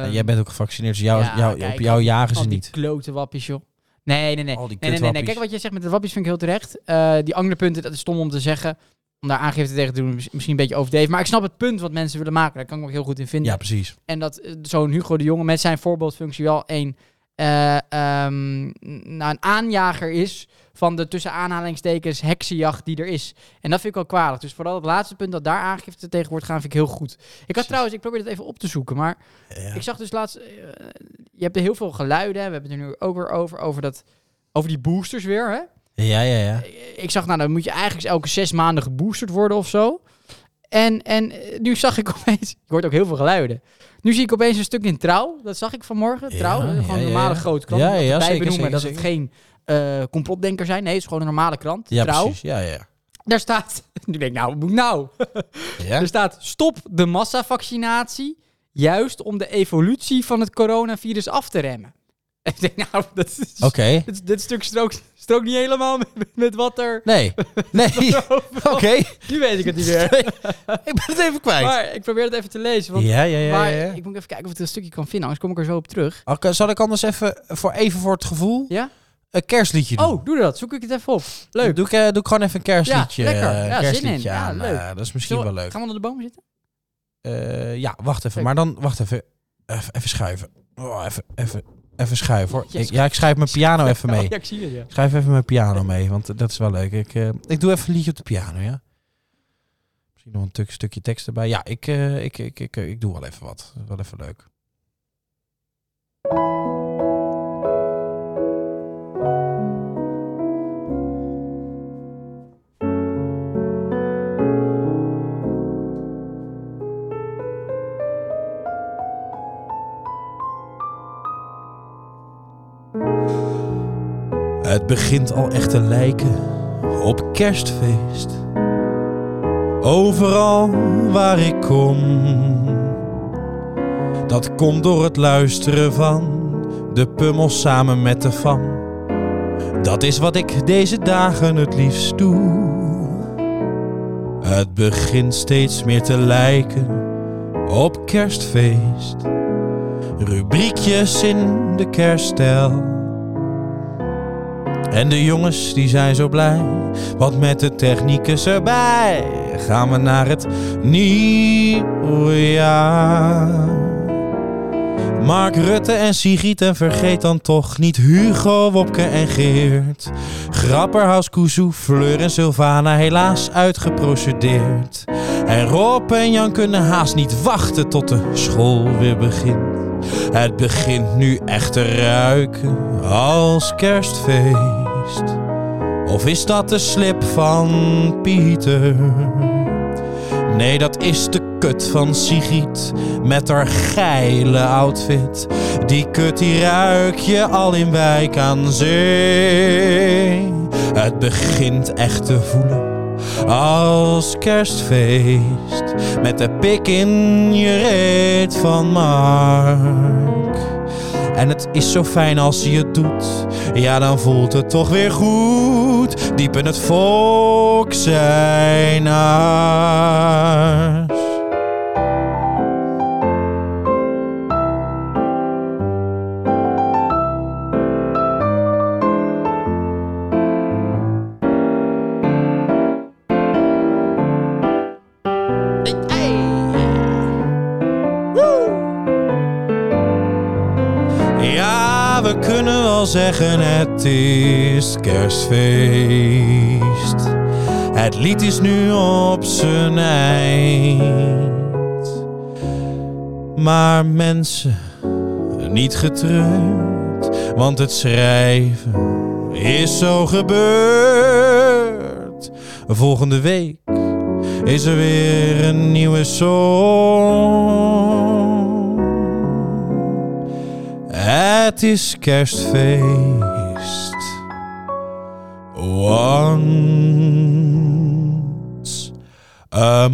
A: Nou, jij bent ook gevaccineerd, dus jou,
B: Ehm, ja,
A: jou,
B: kijk,
A: op jou jagen ze
B: al die
A: niet.
B: klote wappies, joh. Nee, nee, nee.
A: Al die
B: Nee, nee, nee, nee.
A: kutwappies.
B: Kijk wat je zegt met de wappies vind ik heel terecht. Eh, die andere punten, dat is stom om te zeggen. Om daar aangifte tegen te doen, is misschien een beetje overdreven. Maar ik snap het punt wat mensen willen maken. Daar kan ik me ook heel goed in vinden.
A: Ja, precies.
B: En dat eh, zo'n Hugo de Jonge met zijn voorbeeldfunctie wel een, eh, ehm, nou, een aanjager is van de tussen aanhalingstekens heksenjacht die er is. En dat vind ik wel kwalijk. Dus vooral het laatste punt dat daar aangifte tegen wordt gaan, vind ik heel goed. Ik had trouwens, ik probeer dat even op te zoeken, maar
A: Ja.
B: ik zag dus laatst, eh, je hebt er heel veel geluiden, hè, we hebben het er nu ook weer over, over, dat, over die boosters weer. Hè?
A: ja, ja, ja.
B: ik zag, nou, dan moet je eigenlijk elke zes maanden geboosterd worden of zo. En, en eh, nu zag ik [LAUGHS] opeens, ik hoor ook heel veel geluiden. Nu zie ik opeens een stuk in Trouw, dat zag ik vanmorgen.
A: Ja,
B: trouw, eh,
A: ja,
B: gewoon een
A: ja,
B: normale
A: ja.
B: grote krant.
A: Ja,
B: Ja,
A: ja,
B: ja,
A: zeker,
B: benoemen
A: zeker,
B: dat het geen eh complotdenker zijn. Nee, het is gewoon een normale krant,
A: Ja,
B: Trouw.
A: precies. Ja, ja.
B: Daar staat, [LAUGHS] nu denk ik nou, wat moet ik nou?
A: Ja?
B: Er staat, stop de massavaccinatie, juist om de evolutie van het coronavirus af te remmen. [LAUGHS] Ik denk nou, dat is,
A: Oké.
B: dit, dit stuk strookt, strookt niet helemaal [LAUGHS] met, met wat er... [LAUGHS]
A: Nee. Nee. [LAUGHS] Oké.
B: Nu weet ik
A: [LAUGHS]
B: het niet meer.
A: Ik ben het even kwijt.
B: Maar ik probeer het even te lezen. Want,
A: ja, ja, ja.
B: maar
A: ja.
B: ik moet even kijken of ik er een stukje kan vinden, anders kom ik er zo op terug.
A: Oké, Zal ik anders even voor, even voor het gevoel
B: Ja?
A: een kerstliedje doen?
B: Oh, doe dat. Zoek ik het even op. Leuk.
A: Doe ik, eh, doe ik gewoon even een kerstliedje,
B: Ja, lekker.
A: eh,
B: Ja, zin
A: kerstliedje
B: in. Ja,
A: aan.
B: leuk.
A: Eh, dat is misschien
B: Zullen
A: wel
B: we-
A: leuk.
B: Gaan we onder de boom zitten?
A: Eh, ja, wacht even.
B: Leuk.
A: Maar dan, wacht even. Even, even schuiven. Oh, even, even, even schuiven hoor.
B: Yes.
A: Ik, ja, ik schuif mijn piano even mee.
B: Oh, [LAUGHS] ja, ik zie het, ja.
A: Ik Schrijf even mijn piano mee, want eh, dat is wel leuk. Ik, eh, ik doe even een liedje op de piano, ja. Misschien nog een tuk- stukje tekst erbij. Ja, ik, eh, ik, ik, ik, eh, ik doe wel even wat. Dat is wel even leuk. Het begint al echt te lijken op kerstfeest. Overal waar ik kom. Dat komt door het luisteren van de pummels samen met de fam. Dat is wat ik deze dagen het liefst doe. Het begint steeds meer te lijken op kerstfeest. Rubriekjes in de kerststijl. En de jongens die zijn zo blij, want met de technicus erbij gaan we naar het nieuwjaar. Mark Rutte en Sigrid en vergeet dan toch niet Hugo, Wopke en Geert. Grapperhaus, Kuzu, Fleur en Sylvana helaas uitgeprocedeerd. En Rob en Jan kunnen haast niet wachten tot de school weer begint. Het begint nu echt te ruiken als kerstfeest. Of is dat de slip van Pieter? Nee, dat is de kut van Sigrid met haar geile outfit. Die kut die ruik je al in wijk aan zee. Het begint echt te voelen als kerstfeest. Met de pik in je reet van Mark. En het is zo fijn als hij het doet. Ja, dan voelt het toch weer goed. Diep in het volk zijn aars. Ja, we kunnen wel zeggen het is kerstfeest. Het lied is nu op zijn eind. Maar mensen, niet getreurd, want het schrijven is zo gebeurd. Volgende week is er weer een nieuwe song. Het is kerstfeest. Once a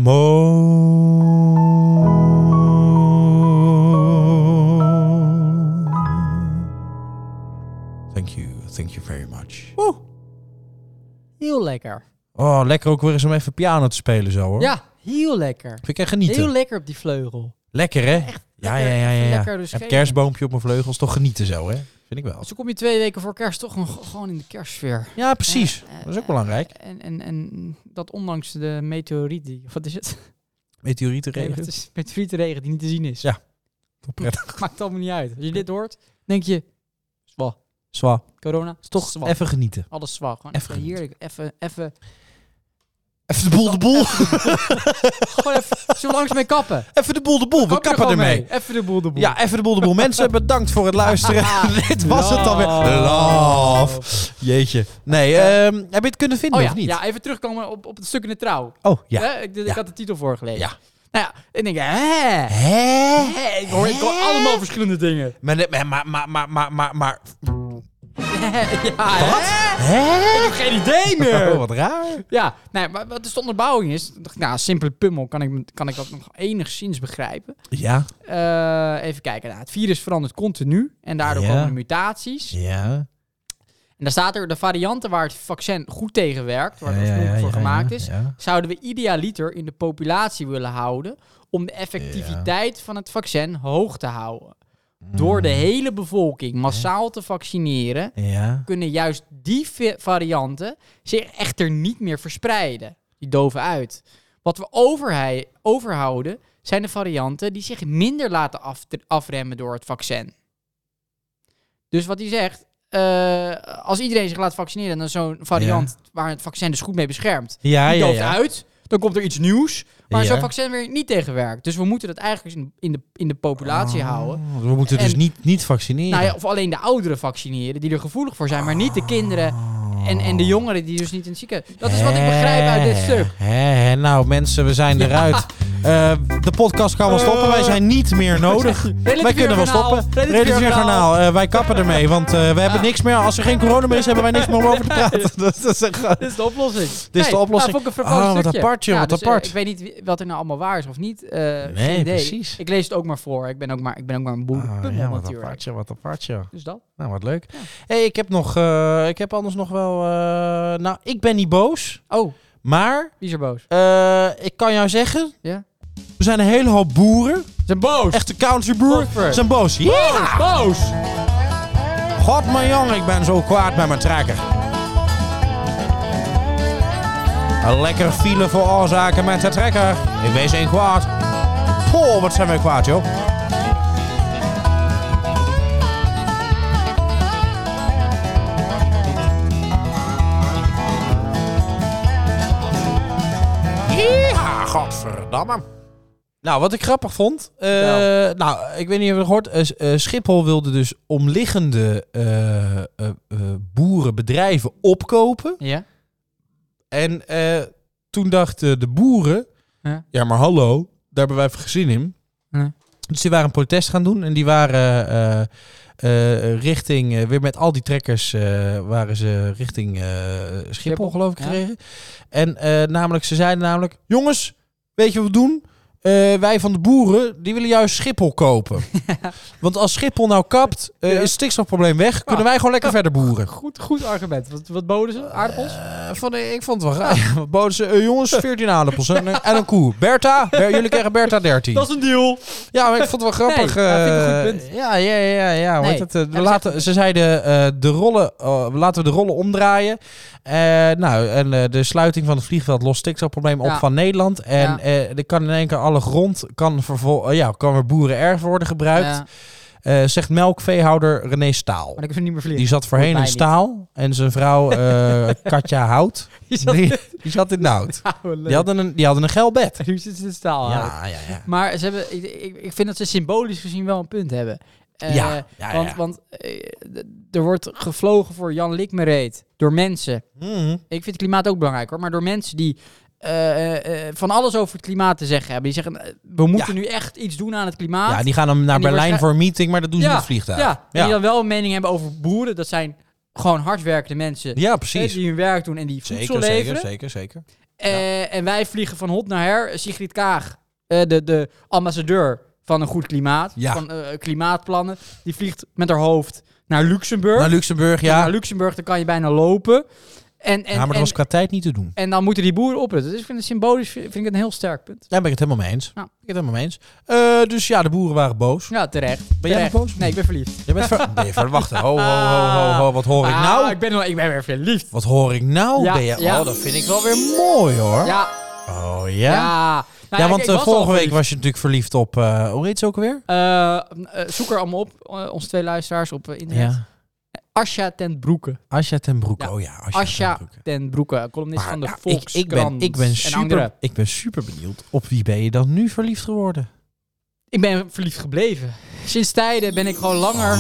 A: more. Thank you, thank you very much.
B: Oeh. Heel lekker.
A: Oh, lekker ook weer eens om even piano te spelen zo hoor.
B: Ja, heel lekker.
A: Vind ik echt genieten.
B: Heel lekker op die vleugel.
A: lekker hè? ja, ja,
B: lekker.
A: ja, ja.
B: Even
A: ja.
B: lekker dus
A: Heb
B: geven.
A: kerstboompje op mijn vleugels, toch genieten zo hè? Vind ik wel.
B: Zo kom je twee weken voor kerst toch nog gewoon in de kerstsfeer.
A: Ja, precies.
B: Eh, eh,
A: Dat is ook belangrijk.
B: En, en, en dat ondanks de meteoriet die... Wat is het? Nee,
A: Meteorietenregen.
B: het is meteorietregen die niet te zien is.
A: Ja. Prettig.
B: [LAUGHS] Maakt allemaal niet uit. Als je dit hoort, denk je... Zwa.
A: Zwa.
B: Corona.
A: Is toch
B: zwa.
A: even genieten.
B: Alles zwa. Gewoon
A: Even
B: even heerlijk. Even, even...
A: Even de boel de
B: [LAUGHS]
A: boel.
B: Gewoon even... Zo langs mee
A: [LAUGHS]
B: kappen.
A: Even de boel de boel. We
B: Kap er
A: kappen
B: gewoon
A: ermee.
B: Even de boel de boel.
A: Ja, even de boel de boel. Mensen, bedankt voor het
B: [LAUGHS]
A: luisteren. [LAUGHS] Dit was het dan weer. Love. Jeetje. Nee, ehm, heb je het kunnen vinden
B: Eh, Oh
A: of
B: ja,
A: niet?
B: ja, Eh? even terugkomen op, op het stuk in de trouw.
A: Oh ja.
B: Hè? Ik, ik
A: Ja.
B: had de titel voorgelezen.
A: Ja.
B: Nou ja, ik denk,
A: [LAUGHS]
B: hè?
A: Hè?
B: Hè? Ik hoor, ik hoor
A: Hè?
B: allemaal verschillende dingen.
A: Maar, maar, maar, maar, maar, maar, maar, maar-
B: ja, Ah, hè?
A: Hè?
B: Ik heb geen idee meer.
A: Oh, [LAUGHS] wat raar.
B: Ja, nee, maar wat dus de onderbouwing is, dacht ik, nou, simpele pummel kan ik, kan ik dat nog enigszins begrijpen.
A: Ja,
B: Eh, even kijken, nou, het virus verandert continu en daardoor
A: Ja.
B: komen de mutaties.
A: ja.
B: En daar staat er de varianten waar het vaccin goed tegen werkt, waar het
A: ja, ja,
B: oorspronkelijk
A: ja,
B: voor
A: ja,
B: gemaakt
A: ja,
B: is,
A: ja.
B: zouden we idealiter in de populatie willen houden om de effectiviteit van het vaccin hoog te houden. Door de hele bevolking massaal te vaccineren,
A: Ja.
B: kunnen juist die vi- varianten zich echter niet meer verspreiden. Die doven uit. Wat we overhei- overhouden zijn de varianten die zich minder laten af- afremmen door het vaccin. Dus wat hij zegt, eh, als iedereen zich laat vaccineren, dan zo'n variant waar het vaccin dus goed mee beschermt,
A: Ja,
B: die
A: ja,
B: dooft
A: ja.
B: uit. Dan komt er iets nieuws, maar
A: Ja.
B: zo'n vaccin weer niet tegenwerkt. Dus we moeten dat eigenlijk in, in, de, in de
A: Ah.
B: populatie houden.
A: We moeten dus
B: En-
A: niet, niet vaccineren.
B: Nou ja, of alleen de ouderen vaccineren, die er gevoelig voor zijn, maar niet
A: Ah.
B: de kinderen en, en de jongeren die dus niet in het ziekenhuis. Dat is wat ik begrijp uit dit
A: Hè,
B: stuk.
A: hè, hè, nou mensen, we zijn eruit. Eh, de podcast kan wel
B: Oh.
A: stoppen. Wij zijn niet meer
B: [LAUGHS]
A: nodig.
B: Relatief
A: wij kunnen wel
B: journaal.
A: stoppen.
B: Relatief
A: Redelijk weer
B: journaal.
A: garnaal. wij kappen ermee, want eh, we hebben niks meer. Als er geen corona meer is, hebben wij niks meer om over te praten. [LAUGHS] dat is echt gewoon-
B: Dit is de oplossing. Dit
A: de oplossing.
B: vond ik een vervangend
A: Oh, wat
B: stukje.
A: apart, joh,
B: Ja,
A: wat
B: dus, eh,
A: apart.
B: ik weet niet wie- wat er nou allemaal waar is of niet. eh, geen
A: Nee,
B: idee.
A: precies.
B: Ik lees het ook maar voor. Ik ben ook maar, ik ben ook maar Oh, een boer.
A: Ah,
B: pummel
A: ja, wat
B: natuurlijk.
A: apart, joh, wat apart, joh.
B: Dus dat.
A: Nou, wat leuk. hey, ik heb nog, eh, ik heb anders nog wel, eh, nou, ik ben niet boos,
B: Oh,
A: maar
B: wie is er boos?
A: eh, ik kan jou zeggen,
B: Ja?
A: er zijn een hele hoop boeren,
B: Ze zijn boos.
A: echte countryboeren,
B: Koffer.
A: zijn boos. Ja!
B: Boos.
A: God, mijn jong, ik ben zo kwaad met mijn trekker. Een lekker file veroorzaken met de trekker. Ik wees een kwaad. Poh, wat zijn wij kwaad, joh. Ja, godverdamme. Nou, wat ik grappig vond. eh,
B: Vertel.
A: Nou, ik weet niet of je het hoort. eh, s- eh, Schiphol wilde dus omliggende eh, eh, eh, boerenbedrijven opkopen.
B: Ja?
A: En eh, toen dachten de boeren...
B: Ja.
A: Ja. maar hallo, daar hebben wij even gezin in.
B: Ja.
A: Dus die waren een protest gaan doen. En die waren eh, eh, richting... eh, weer met al die trekkers eh, waren ze richting eh, Schiphol,
B: Schiphol,
A: geloof ik,
B: ja.
A: gereden. En eh, namelijk, ze zeiden namelijk... Jongens, weet je wat we doen? Eh, wij van de boeren, die willen juist Schiphol
B: [LAUGHS]
A: kopen. Want als Schiphol nou kapt, eh,
B: Ja. Ah.
A: is het stikstofprobleem weg. Kunnen wij gewoon lekker verder boeren.
B: Goed, goed argument. Wat, wat boden ze? Aardappels?
A: Eh, van, eh, ik vond het wel raar. [LAUGHS] Wat boden ze? Eh, jongens, 14 aardappels en, een- en een koe. Bertha, Ber- jullie krijgen Bertha 13.
B: is een deal.
A: Ja, maar ik vond het wel grappig.
B: Nee, ja, vind ik een
A: eh,
B: goed punt.
A: ja, ja, ja, ja. hoe
B: Nee,
A: heet het, eh, we
B: dat is
A: laten, ze zeiden, eh, de rollen, eh, laten we de rollen omdraaien. Eh, nou, en eh, de sluiting van het vliegveld lost stikstofprobleem
B: Ja.
A: op van Nederland. En
B: Ja.
A: eh er kan in één keer alle grond, kan, vervol eh, ja, kan weer boeren erf worden gebruikt.
B: Ja,
A: Eh, zegt melkveehouder René Staal.
B: maar ik kan niet meer
A: Die
B: vliegen.
A: zat voorheen
B: mij
A: in
B: niet.
A: Staal en zijn vrouw eh,
B: [LAUGHS]
A: Katja Hout.
B: Die zat-
A: Die, die zat in de
B: [LAUGHS]
A: hout. Die hadden een, die hadden een geil bed.
B: Nu zitten ze in staal aan.
A: Ja, ja, ja.
B: Maar ze hebben, ik, ik, ik vind dat ze symbolisch gezien wel een punt hebben. Eh,
A: Ja, ja,
B: want
A: ja.
B: want eh, d- er wordt gevlogen voor Jan Likmereet door mensen.
A: Mhm.
B: Ik vind het klimaat ook belangrijk hoor, maar door mensen die eh, eh, van alles over het klimaat te zeggen hebben. Die zeggen, eh, we moeten nu echt iets doen aan het klimaat.
A: Ja, die gaan dan naar
B: En die
A: Berlijn
B: waarschijn-
A: voor een meeting, maar dat doen ze
B: Ja,
A: met het vliegtuig.
B: ja, en die
A: ja.
B: dan wel een mening hebben over boeren. Dat zijn gewoon hardwerkende mensen.
A: Ja,
B: eh,
A: precies.
B: Die hun werk doen en die voedsel
A: Zeker,
B: leveren.
A: zeker, zeker, zeker.
B: Eh, En wij vliegen van hot naar her. Sigrid Kaag, eh, de, de ambassadeur van een goed klimaat,
A: Ja.
B: van eh, klimaatplannen, die vliegt met haar hoofd naar Luxemburg.
A: Naar Luxemburg,
B: En
A: ja.
B: naar Luxemburg, dan kan je bijna lopen. En, en,
A: ja, maar dat
B: en,
A: was qua tijd niet te doen.
B: en dan moeten die boeren oprutten. Dus ik vind het symbolisch vind ik het een heel sterk punt.
A: Daar ben ik het helemaal mee eens.
B: Ja.
A: Ik ben het helemaal mee eens. Eh, dus ja, de boeren waren boos.
B: Ja, terecht.
A: Ben jij
B: Terecht.
A: nog boos?
B: Nee, ik ben verliefd.
A: Je bent ver... ben je verwacht. Ho, ho, ho, ho, ho. Wat hoor ik
B: Ah,
A: nou?
B: Ik ben, wel- ik ben weer verliefd.
A: Wat hoor ik nou?
B: Ja,
A: ben je...
B: ja.
A: Oh, dat vind ik wel weer mooi, hoor.
B: Ja,
A: Oh,
B: ja.
A: ja? ja,
B: Nou, ik-
A: want
B: ik
A: eh,
B: was al
A: vorige week
B: verliefd.
A: was je natuurlijk verliefd op... eh hoe heet ze ook alweer?
B: Eh, eh, zoek er allemaal op, eh, onze twee luisteraars op eh, internet.
A: Ja.
B: Asja ten Broeke.
A: Asja ten Broeke.
B: Ja.
A: Oh ja, Asja, ten
B: Asja
A: Broeke.
B: ten Broeke, columnist
A: Maar
B: van de
A: ja, ik,
B: Volkskrant.
A: ik, ben, ik, ben
B: en andere.
A: super, ik ben super benieuwd. Op wie ben je dan nu verliefd geworden?
B: Ik ben verliefd gebleven. Sinds tijden ben ik gewoon langer,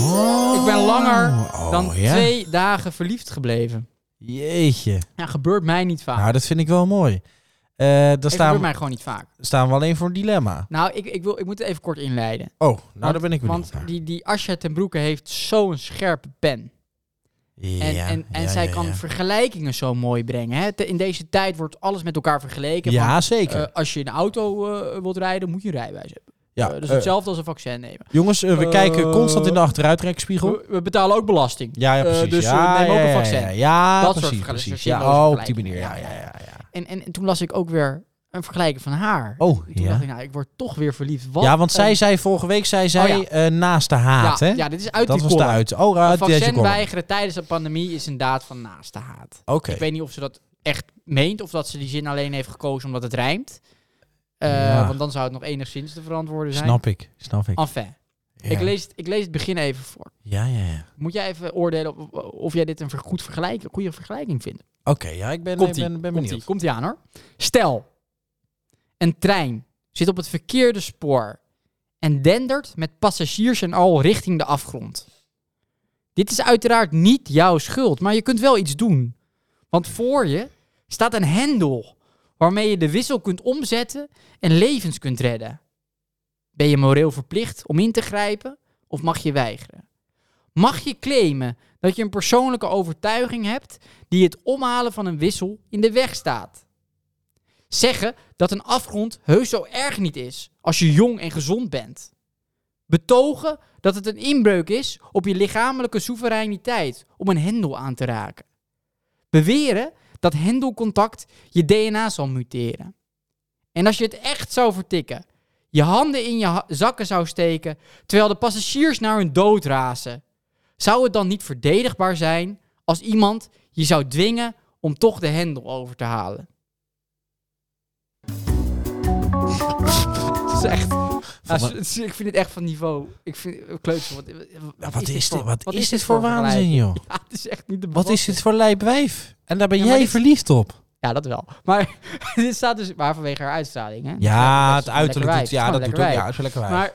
B: ik ben langer
A: Oh,
B: dan
A: ja?
B: twee dagen verliefd gebleven.
A: Jeetje.
B: Ja, gebeurt mij niet vaak.
A: Nou, dat vind ik wel mooi. Eh dan
B: Het gebeurt
A: staan,
B: mij gewoon niet vaak.
A: staan we alleen voor een dilemma.
B: Nou, ik, ik, wil, ik moet het even kort inleiden.
A: Oh, nou, daar
B: Want-
A: ben ik benieuwd
B: Want die, die Asja ten Broeke heeft zo'n scherpe pen. En, en, en zij kan vergelijkingen zo mooi brengen. Hè? Te- In deze tijd wordt alles met elkaar vergeleken. van,
A: Ja, zeker.
B: eh, als je in een auto eh, wilt rijden, moet je een rijbewijs hebben.
A: ja,
B: Eh, dat is
A: eh,
B: hetzelfde als een vaccin nemen.
A: jongens, eh, we
B: eh,
A: kijken constant in de achteruitkijkspiegel.
B: We, we betalen ook belasting.
A: Ja, ja,
B: eh,
A: precies.
B: dus, eh,
A: ja,
B: neem ook
A: ja,
B: een
A: ja,
B: vaccin.
A: Ja, ja,
B: Dat soort
A: precies,
B: vergelijkingen,
A: precies.
B: soort
A: Ja,
B: zinloze
A: oh, op die manier. Ja, ja,
B: vergelijkingen.
A: ja, ja.
B: En, en, en toen las ik ook weer een vergelijking van haar.
A: Oh,
B: Toen
A: ja.
B: dacht ik, nou, ik word toch weer verliefd. Wat
A: Ja, want zij
B: een-
A: zei vorige week, zij zei
B: ja.
A: eh, naast de
B: ja,
A: haat, hè?
B: ja, dit is uit
A: dat
B: die
A: was de
B: column.
A: uit. Oh, uit
B: Een
A: deze
B: vaccin
A: column.
B: weigeren tijdens een pandemie is een daad van naaste haat.
A: Oké.
B: Ik weet niet of ze dat echt meent of dat ze die zin alleen heeft gekozen omdat het rijmt. Eh,
A: Ja.
B: Want dan zou het nog enigszins te verantwoorden zijn.
A: Snap ik, snap ik.
B: Enfin,
A: Ja.
B: ik, lees het, ik lees het begin even voor.
A: ja, ja, ja.
B: Moet jij even oordelen of, of jij dit een ver- goed vergelijk, een goede vergelijking vindt?
A: Oké, ja, ik ben, ik
B: Komt-ie,
A: ben, ben
B: komt-ie,
A: benieuwd.
B: komt-ie aan hoor. Stel, een trein zit op het verkeerde spoor en dendert met passagiers en al richting de afgrond. Dit is uiteraard niet jouw schuld, maar je kunt wel iets doen. Want voor je staat een hendel waarmee je de wissel kunt omzetten en levens kunt redden. Ben je moreel verplicht om in te grijpen of mag je weigeren? Mag je claimen dat je een persoonlijke overtuiging hebt die het omhalen van een wissel in de weg staat? Zeggen dat een afgrond heus zo erg niet is als je jong en gezond bent. Betogen dat het een inbreuk is op je lichamelijke soevereiniteit om een hendel aan te raken. Beweren dat hendelcontact je DNA zal muteren. En als je het echt zou vertikken, je handen in je ha- zakken zou steken terwijl de passagiers naar hun dood razen, zou het dan niet verdedigbaar zijn als iemand je zou dwingen om toch de hendel over te
A: [LAUGHS]
B: halen? Het is echt. Ja,
A: Volgens-
B: het is- ik vind het echt van niveau. Ik vind kleuter. Wat,
A: Ja, wat is dit, wat is dit
B: voor
A: voor waanzin,
B: vergelijking? [LAUGHS]
A: joh?
B: Ja, het is echt niet de
A: Wat is
B: belasting.
A: dit voor lijpwijf? En daar ben
B: Ja, maar
A: jij
B: dit-
A: verliefd op.
B: Ja, dat wel. Maar [LAUGHS] dit staat dus maar vanwege haar uitstraling. Hè?
A: Ja,
B: dat
A: het
B: is gewoon
A: uiterlijk
B: lekker
A: doet,
B: wijf. Het
A: ja, dat
B: is gewoon
A: doet ook,
B: lekker
A: ja,
B: wijf.
A: het is lekker wijf.
B: Maar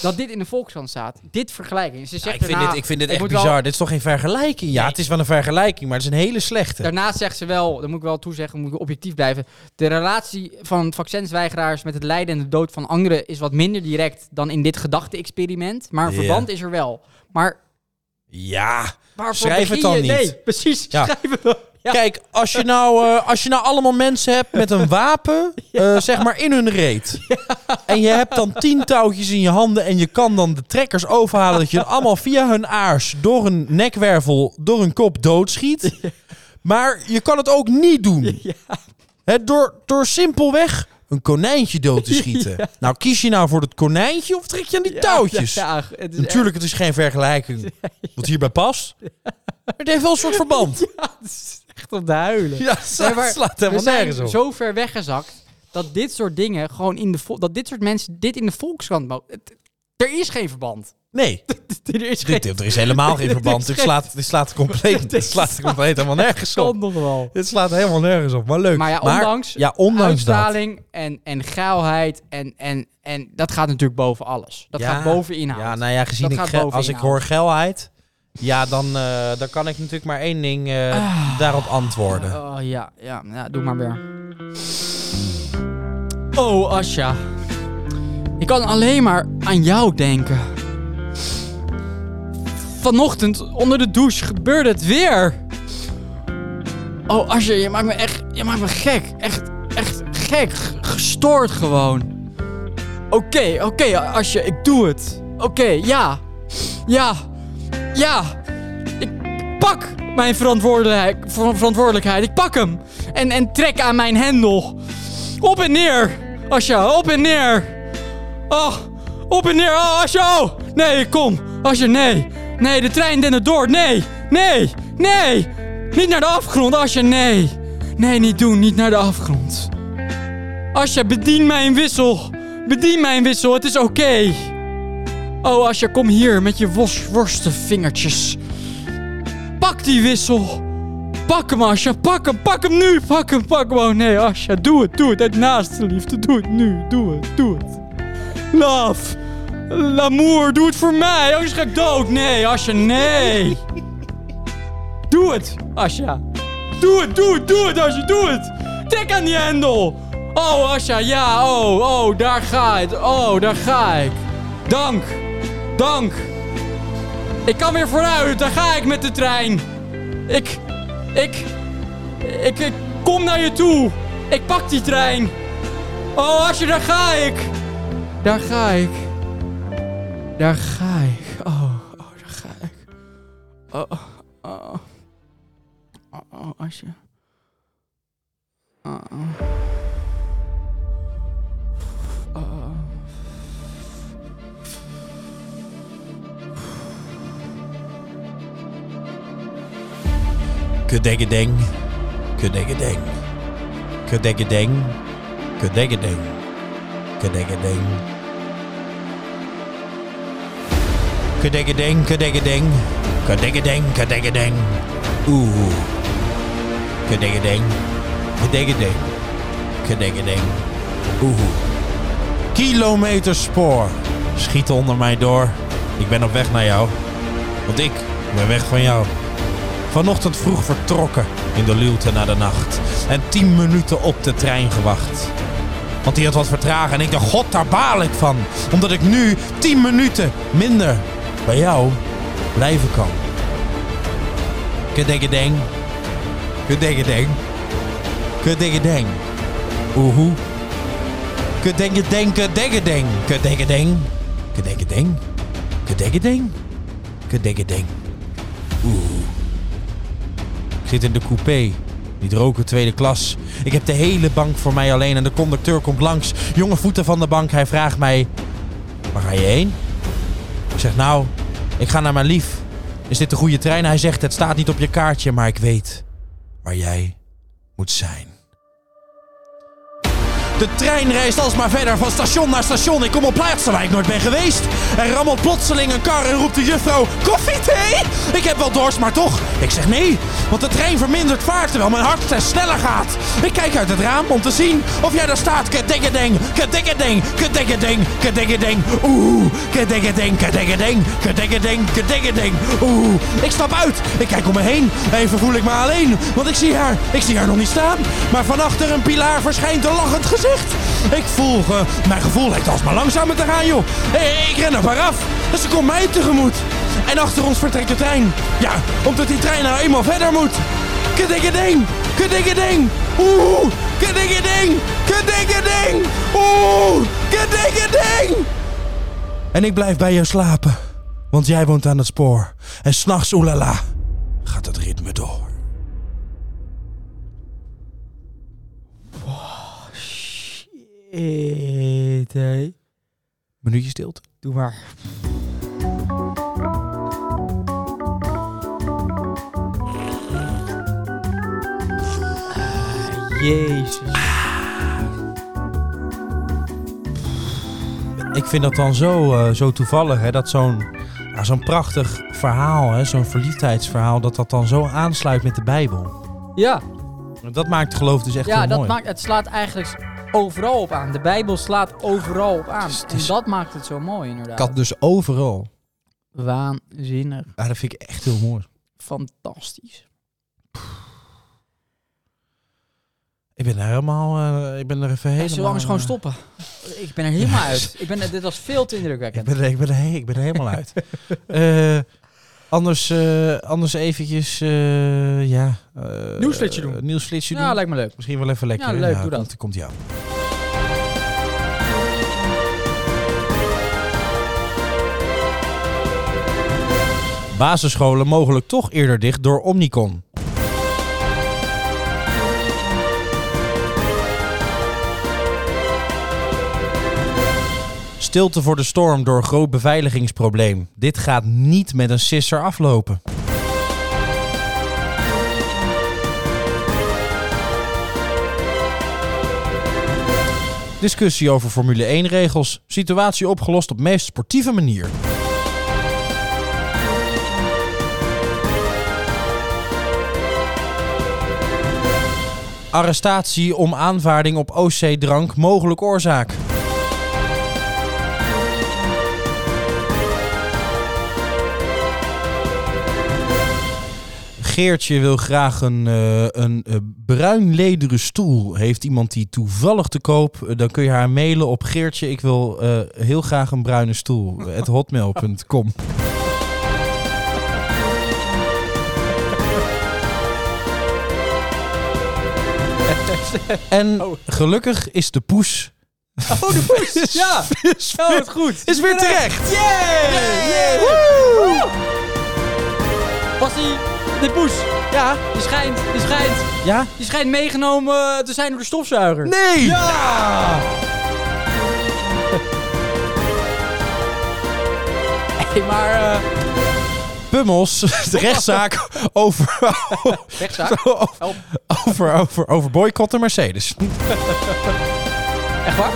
B: dat dit in de Volkskrant staat, dit vergelijking. Ze
A: Ja,
B: zegt
A: ik, vind
B: daarna,
A: dit, ik vind dit
B: ik
A: echt
B: moet wel-
A: bizar. Dit is toch geen vergelijking? Ja,
B: Nee.
A: het is wel een vergelijking, maar het is een hele slechte.
B: Daarnaast zegt ze wel, dat moet ik wel toezeggen, moet ik objectief blijven. De relatie van vaccinsweigeraars met het lijden en de dood van anderen is wat minder direct dan in dit gedachte-experiment. Maar een
A: Ja.
B: verband is er wel. Maar
A: Ja.
B: waarvoor
A: Schrijf het
B: begin
A: dan
B: je?
A: niet.
B: Nee, precies.
A: Ja.
B: Schrijf het dan. Ja.
A: Kijk, als je, nou, eh, als je nou allemaal mensen hebt met een
B: [LAUGHS]
A: wapen, eh, zeg maar in hun reet. En je hebt dan tien touwtjes in je handen en je kan dan de trekkers overhalen dat je het allemaal via hun aars, door een nekwervel, door hun kop doodschiet. Maar je kan het ook niet doen. Hè, door, door simpelweg een konijntje dood
B: [LAUGHS]
A: te schieten. Nou, kies je nou voor het konijntje of trek je aan die touwtjes?
B: Ja, ja, het is
A: Natuurlijk, [LAUGHS] het is geen
B: [LAUGHS]
A: vergelijking. Wat hierbij past. Maar het heeft wel een soort verband.
B: echt- het is echt op de huilen.
A: Ja,
B: Nee, maar
A: het slaat helemaal
B: we zijn
A: nergens op.
B: zo ver weggezakt dat dit soort dingen gewoon in de vol- dat dit soort mensen dit in de Volkskrant mogen. Het- Er is geen verband. [LAUGHS]
A: Nee,
B: er is geen
A: dit, er is helemaal
B: [LAUGHS]
A: geen verband. Dit slaat, dit slaat compleet, dit slaat compleet helemaal nergens op.
B: verband nog wel.
A: Dit slaat helemaal nergens op, maar leuk.
B: Maar ja, ondanks,
A: ja, ondanks dat.
B: uitstraling en, en geilheid en, en, en dat gaat natuurlijk boven alles. Dat
A: Ja.
B: gaat boven inhoud.
A: Ja, nou ja, gezien
B: Dat
A: ik
B: gaat
A: ge-
B: boven
A: als ik
B: inhoud.
A: hoor geilheid, ja, dan, eh, dan kan ik natuurlijk maar één ding eh, daarop antwoorden.
B: Ah. Oh ja, ja, ja, doe maar weer. Oh, Asja. Ik kan alleen maar aan jou denken. Vanochtend onder de douche gebeurde het weer. Oh, Asja, je maakt me echt... Je maakt me gek. Echt, echt gek. G- Gestoord gewoon. Oké, oké, Asja, ik doe het. Oké, ja. Ja. Ja pak mijn verantwoordelijk- ver- verantwoordelijkheid. Ik pak hem. En, en trek aan mijn hendel. Op en neer. Asja, op en neer. Oh, op en neer. Oh, Asja. oh. Nee, kom. Asja, nee. Nee, de trein dendert door. Nee, nee, nee. Niet naar de afgrond, Asja, nee. Nee, niet doen. Niet naar de afgrond. Asja, bedien mijn wissel. Bedien mijn wissel. Het is oké. Oh, Asja, kom hier met je wos- worstenvingertjes. Pak die wissel. Pak hem, Asja. Pak hem. Pak hem nu. Pak hem. Pak hem. Oh nee, Asja. Doe het. Doe het. Uit naaste liefde. Doe het nu. Doe het. Doe het. Love. L'amour. Doe het voor mij. Anders ga ik dood. Nee, Asja. Nee. Doe het, Asja. Doe het. Doe het. Doe het, Asja. Doe het. Trek aan die hendel. Oh, Asja. Ja. Oh. Oh. Daar ga het. Oh. Daar ga ik. Dank. Dank. Ik kan weer vooruit, daar ga ik met de trein.
D: Ik, ik, ik, ik kom naar je toe. Ik pak die trein. Oh, als je daar ga ik. Daar ga ik. Daar ga ik. Oh, oh, daar ga ik. Oh, oh. Oh, oh Asje. Oh, oh. Oh.
A: Kudeggedeng. Kudeggedeng. Kudeggedeng. Kudeggedeng. Kudeggedeng. Kudeggedeng, kudeggedeng. Kudeggedeng, kudeggedeng. Oeh. Kudeggedeng. Kudeggedeng. Kudeggedeng. Oeh. Kilometer spoor. Schiet onder mij door. Ik ben op weg naar jou. Want ik ben weg van jou. Vanochtend vroeg vertrokken in de luwte naar de nacht. En tien minuten op de trein gewacht. Want die had wat vertragen en ik dacht, god, daar baal ik van. Omdat ik nu tien minuten minder bij jou blijven kan. Kudeggedeng. Kudeggedeng. Kudeggedeng. Oehoe. Kudeggedeng, kudeggedeng. Kudeggedeng. Kudeggedeng. Kudeggedeng. Kudeggedeng. Ik zit in de coupé. Niet roken, tweede klas. Ik heb de hele bank voor mij alleen en de conducteur komt langs. Jonge voeten van de bank, hij vraagt mij... Waar ga je heen? Ik zeg, nou, ik ga naar mijn lief. Is dit de goede trein? Hij zegt, het staat niet op je kaartje, maar ik weet waar jij moet zijn. De trein reist alsmaar verder van station naar station. Ik kom op plaatsen waar ik nooit ben geweest. Er rammelt plotseling een kar en roept de juffrouw: Koffie, thee? Ik heb wel dorst, maar toch. Ik zeg nee, want de trein vermindert vaart terwijl mijn hart steeds sneller gaat. Ik kijk uit het raam om te zien of jij daar staat. Kedekkerdeng, kedekkerdeng, kedekkerdeng, kedekkerdeng. Oeh, kedekkerdeng, kedekkerdeng, kedekkerdeng, kedekkerdeng. Oeh, ik stap uit. Ik kijk om me heen. Even voel ik me alleen, want ik zie haar. Ik zie haar nog niet staan. Maar van achter een pilaar verschijnt een lachend gezicht. Ik voel, eh, mijn gevoel lijkt alsmaar langzamer te gaan, joh. Eh, Ik ren op haar af. En ze komt mij tegemoet. En achter ons vertrekt de trein. Ja, omdat die trein nou eenmaal verder moet. Kudikkerding, kudikkerding. Oeh, kudikkerding, kudikkerding. Oeh, kudikkerding. En ik blijf bij jou slapen. Want jij woont aan het spoor. En s'nachts, oelala, gaat het ritme door.
B: Shit, hé.
A: Minuutje stilte.
B: Doe maar. Ah, Jezus.
A: Ik vind dat dan zo, eh, zo toevallig, hè, dat zo'n ja, zo'n prachtig verhaal, hè, zo'n verliefdheidsverhaal, dat dat dan zo aansluit met de Bijbel.
D: Ja,
A: En Dat maakt geloof dus echt
D: ja
A: heel
D: dat
A: mooi.
D: maakt, het slaat eigenlijk overal op aan. De Bijbel slaat overal op aan.
A: Het is- het
D: En
A: is-
D: dat maakt het zo mooi, inderdaad.
A: Kat dus overal.
D: Waanzinnig.
A: Ja, dat vind ik echt heel mooi.
D: Fantastisch.
A: Ik ben er helemaal, eh, ik ben er even helemaal...
D: Helemaal, Zullen we eens gewoon
A: eh,
D: stoppen? Ik ben er helemaal uit. Ik ben, dit was veel te
A: Ik
D: indrukwekkend.
A: ben, er- ik, ben er, he- ik ben er helemaal uit. [LAUGHS] Eh, anders, eh, anders eventjes, eh, ja... eh,
D: Nieuwsflitsje doen.
A: eh, Nieuwsflitsje doen.
D: Nou, lijkt me leuk.
A: Misschien wel even lekker.
D: Ja,
A: hè?
D: leuk, doe dat.
A: komt, Komt jou. Basisscholen mogelijk toch eerder dicht door Omnicom. Stilte voor de storm door groot beveiligingsprobleem. Dit gaat niet met een sisser aflopen. Discussie over Formule 1-regels. Situatie opgelost op meest sportieve manier. Arrestatie om aanvaarding op OC-drank mogelijk oorzaak. Geertje wil graag een, eh, een eh, bruin lederen stoel. Heeft iemand die toevallig te koop? eh, dan kun je haar mailen op Geertje. Ik wil eh, heel graag een bruine stoel. [LAUGHS] at hotmail.com. En
B: Oh.
A: gelukkig is de poes
B: Oh, de poes! Ja! Oh, wat goed!
A: is weer terecht.
B: Yay!
A: Yay!
B: Woe! Was die... De poes,
A: Ja?
B: die schijnt, die schijnt,
A: Ja?
B: die schijnt meegenomen eh, te zijn door de stofzuiger.
A: Nee!
B: Nee, maar... eh
A: Pummels, [LAUGHS] de rechtszaak over,
B: rechtszaak? Help.
A: over, over, over boycotten Mercedes.
B: Echt waar?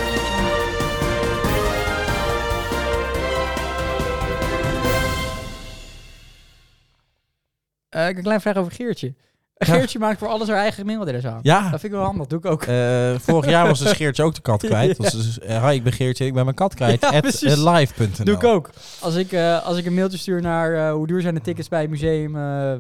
B: Eh, ik heb een klein vraag over Geertje. Geertje maakt voor alles haar eigen mailadres aan.
A: Ja.
B: Dat vind ik wel handig. Doe ik ook.
A: Eh, vorig jaar was dus Geertje ook de kat kwijt. Dat was dus, eh, hi, ik ben Geertje, ik ben mijn kat kwijt.
B: Ja,
A: at,
B: precies.
A: eh, live.nl.
B: Doe ik ook. Als ik, eh, als ik een mailtje stuur naar eh, hoe duur zijn de tickets bij het museum. eh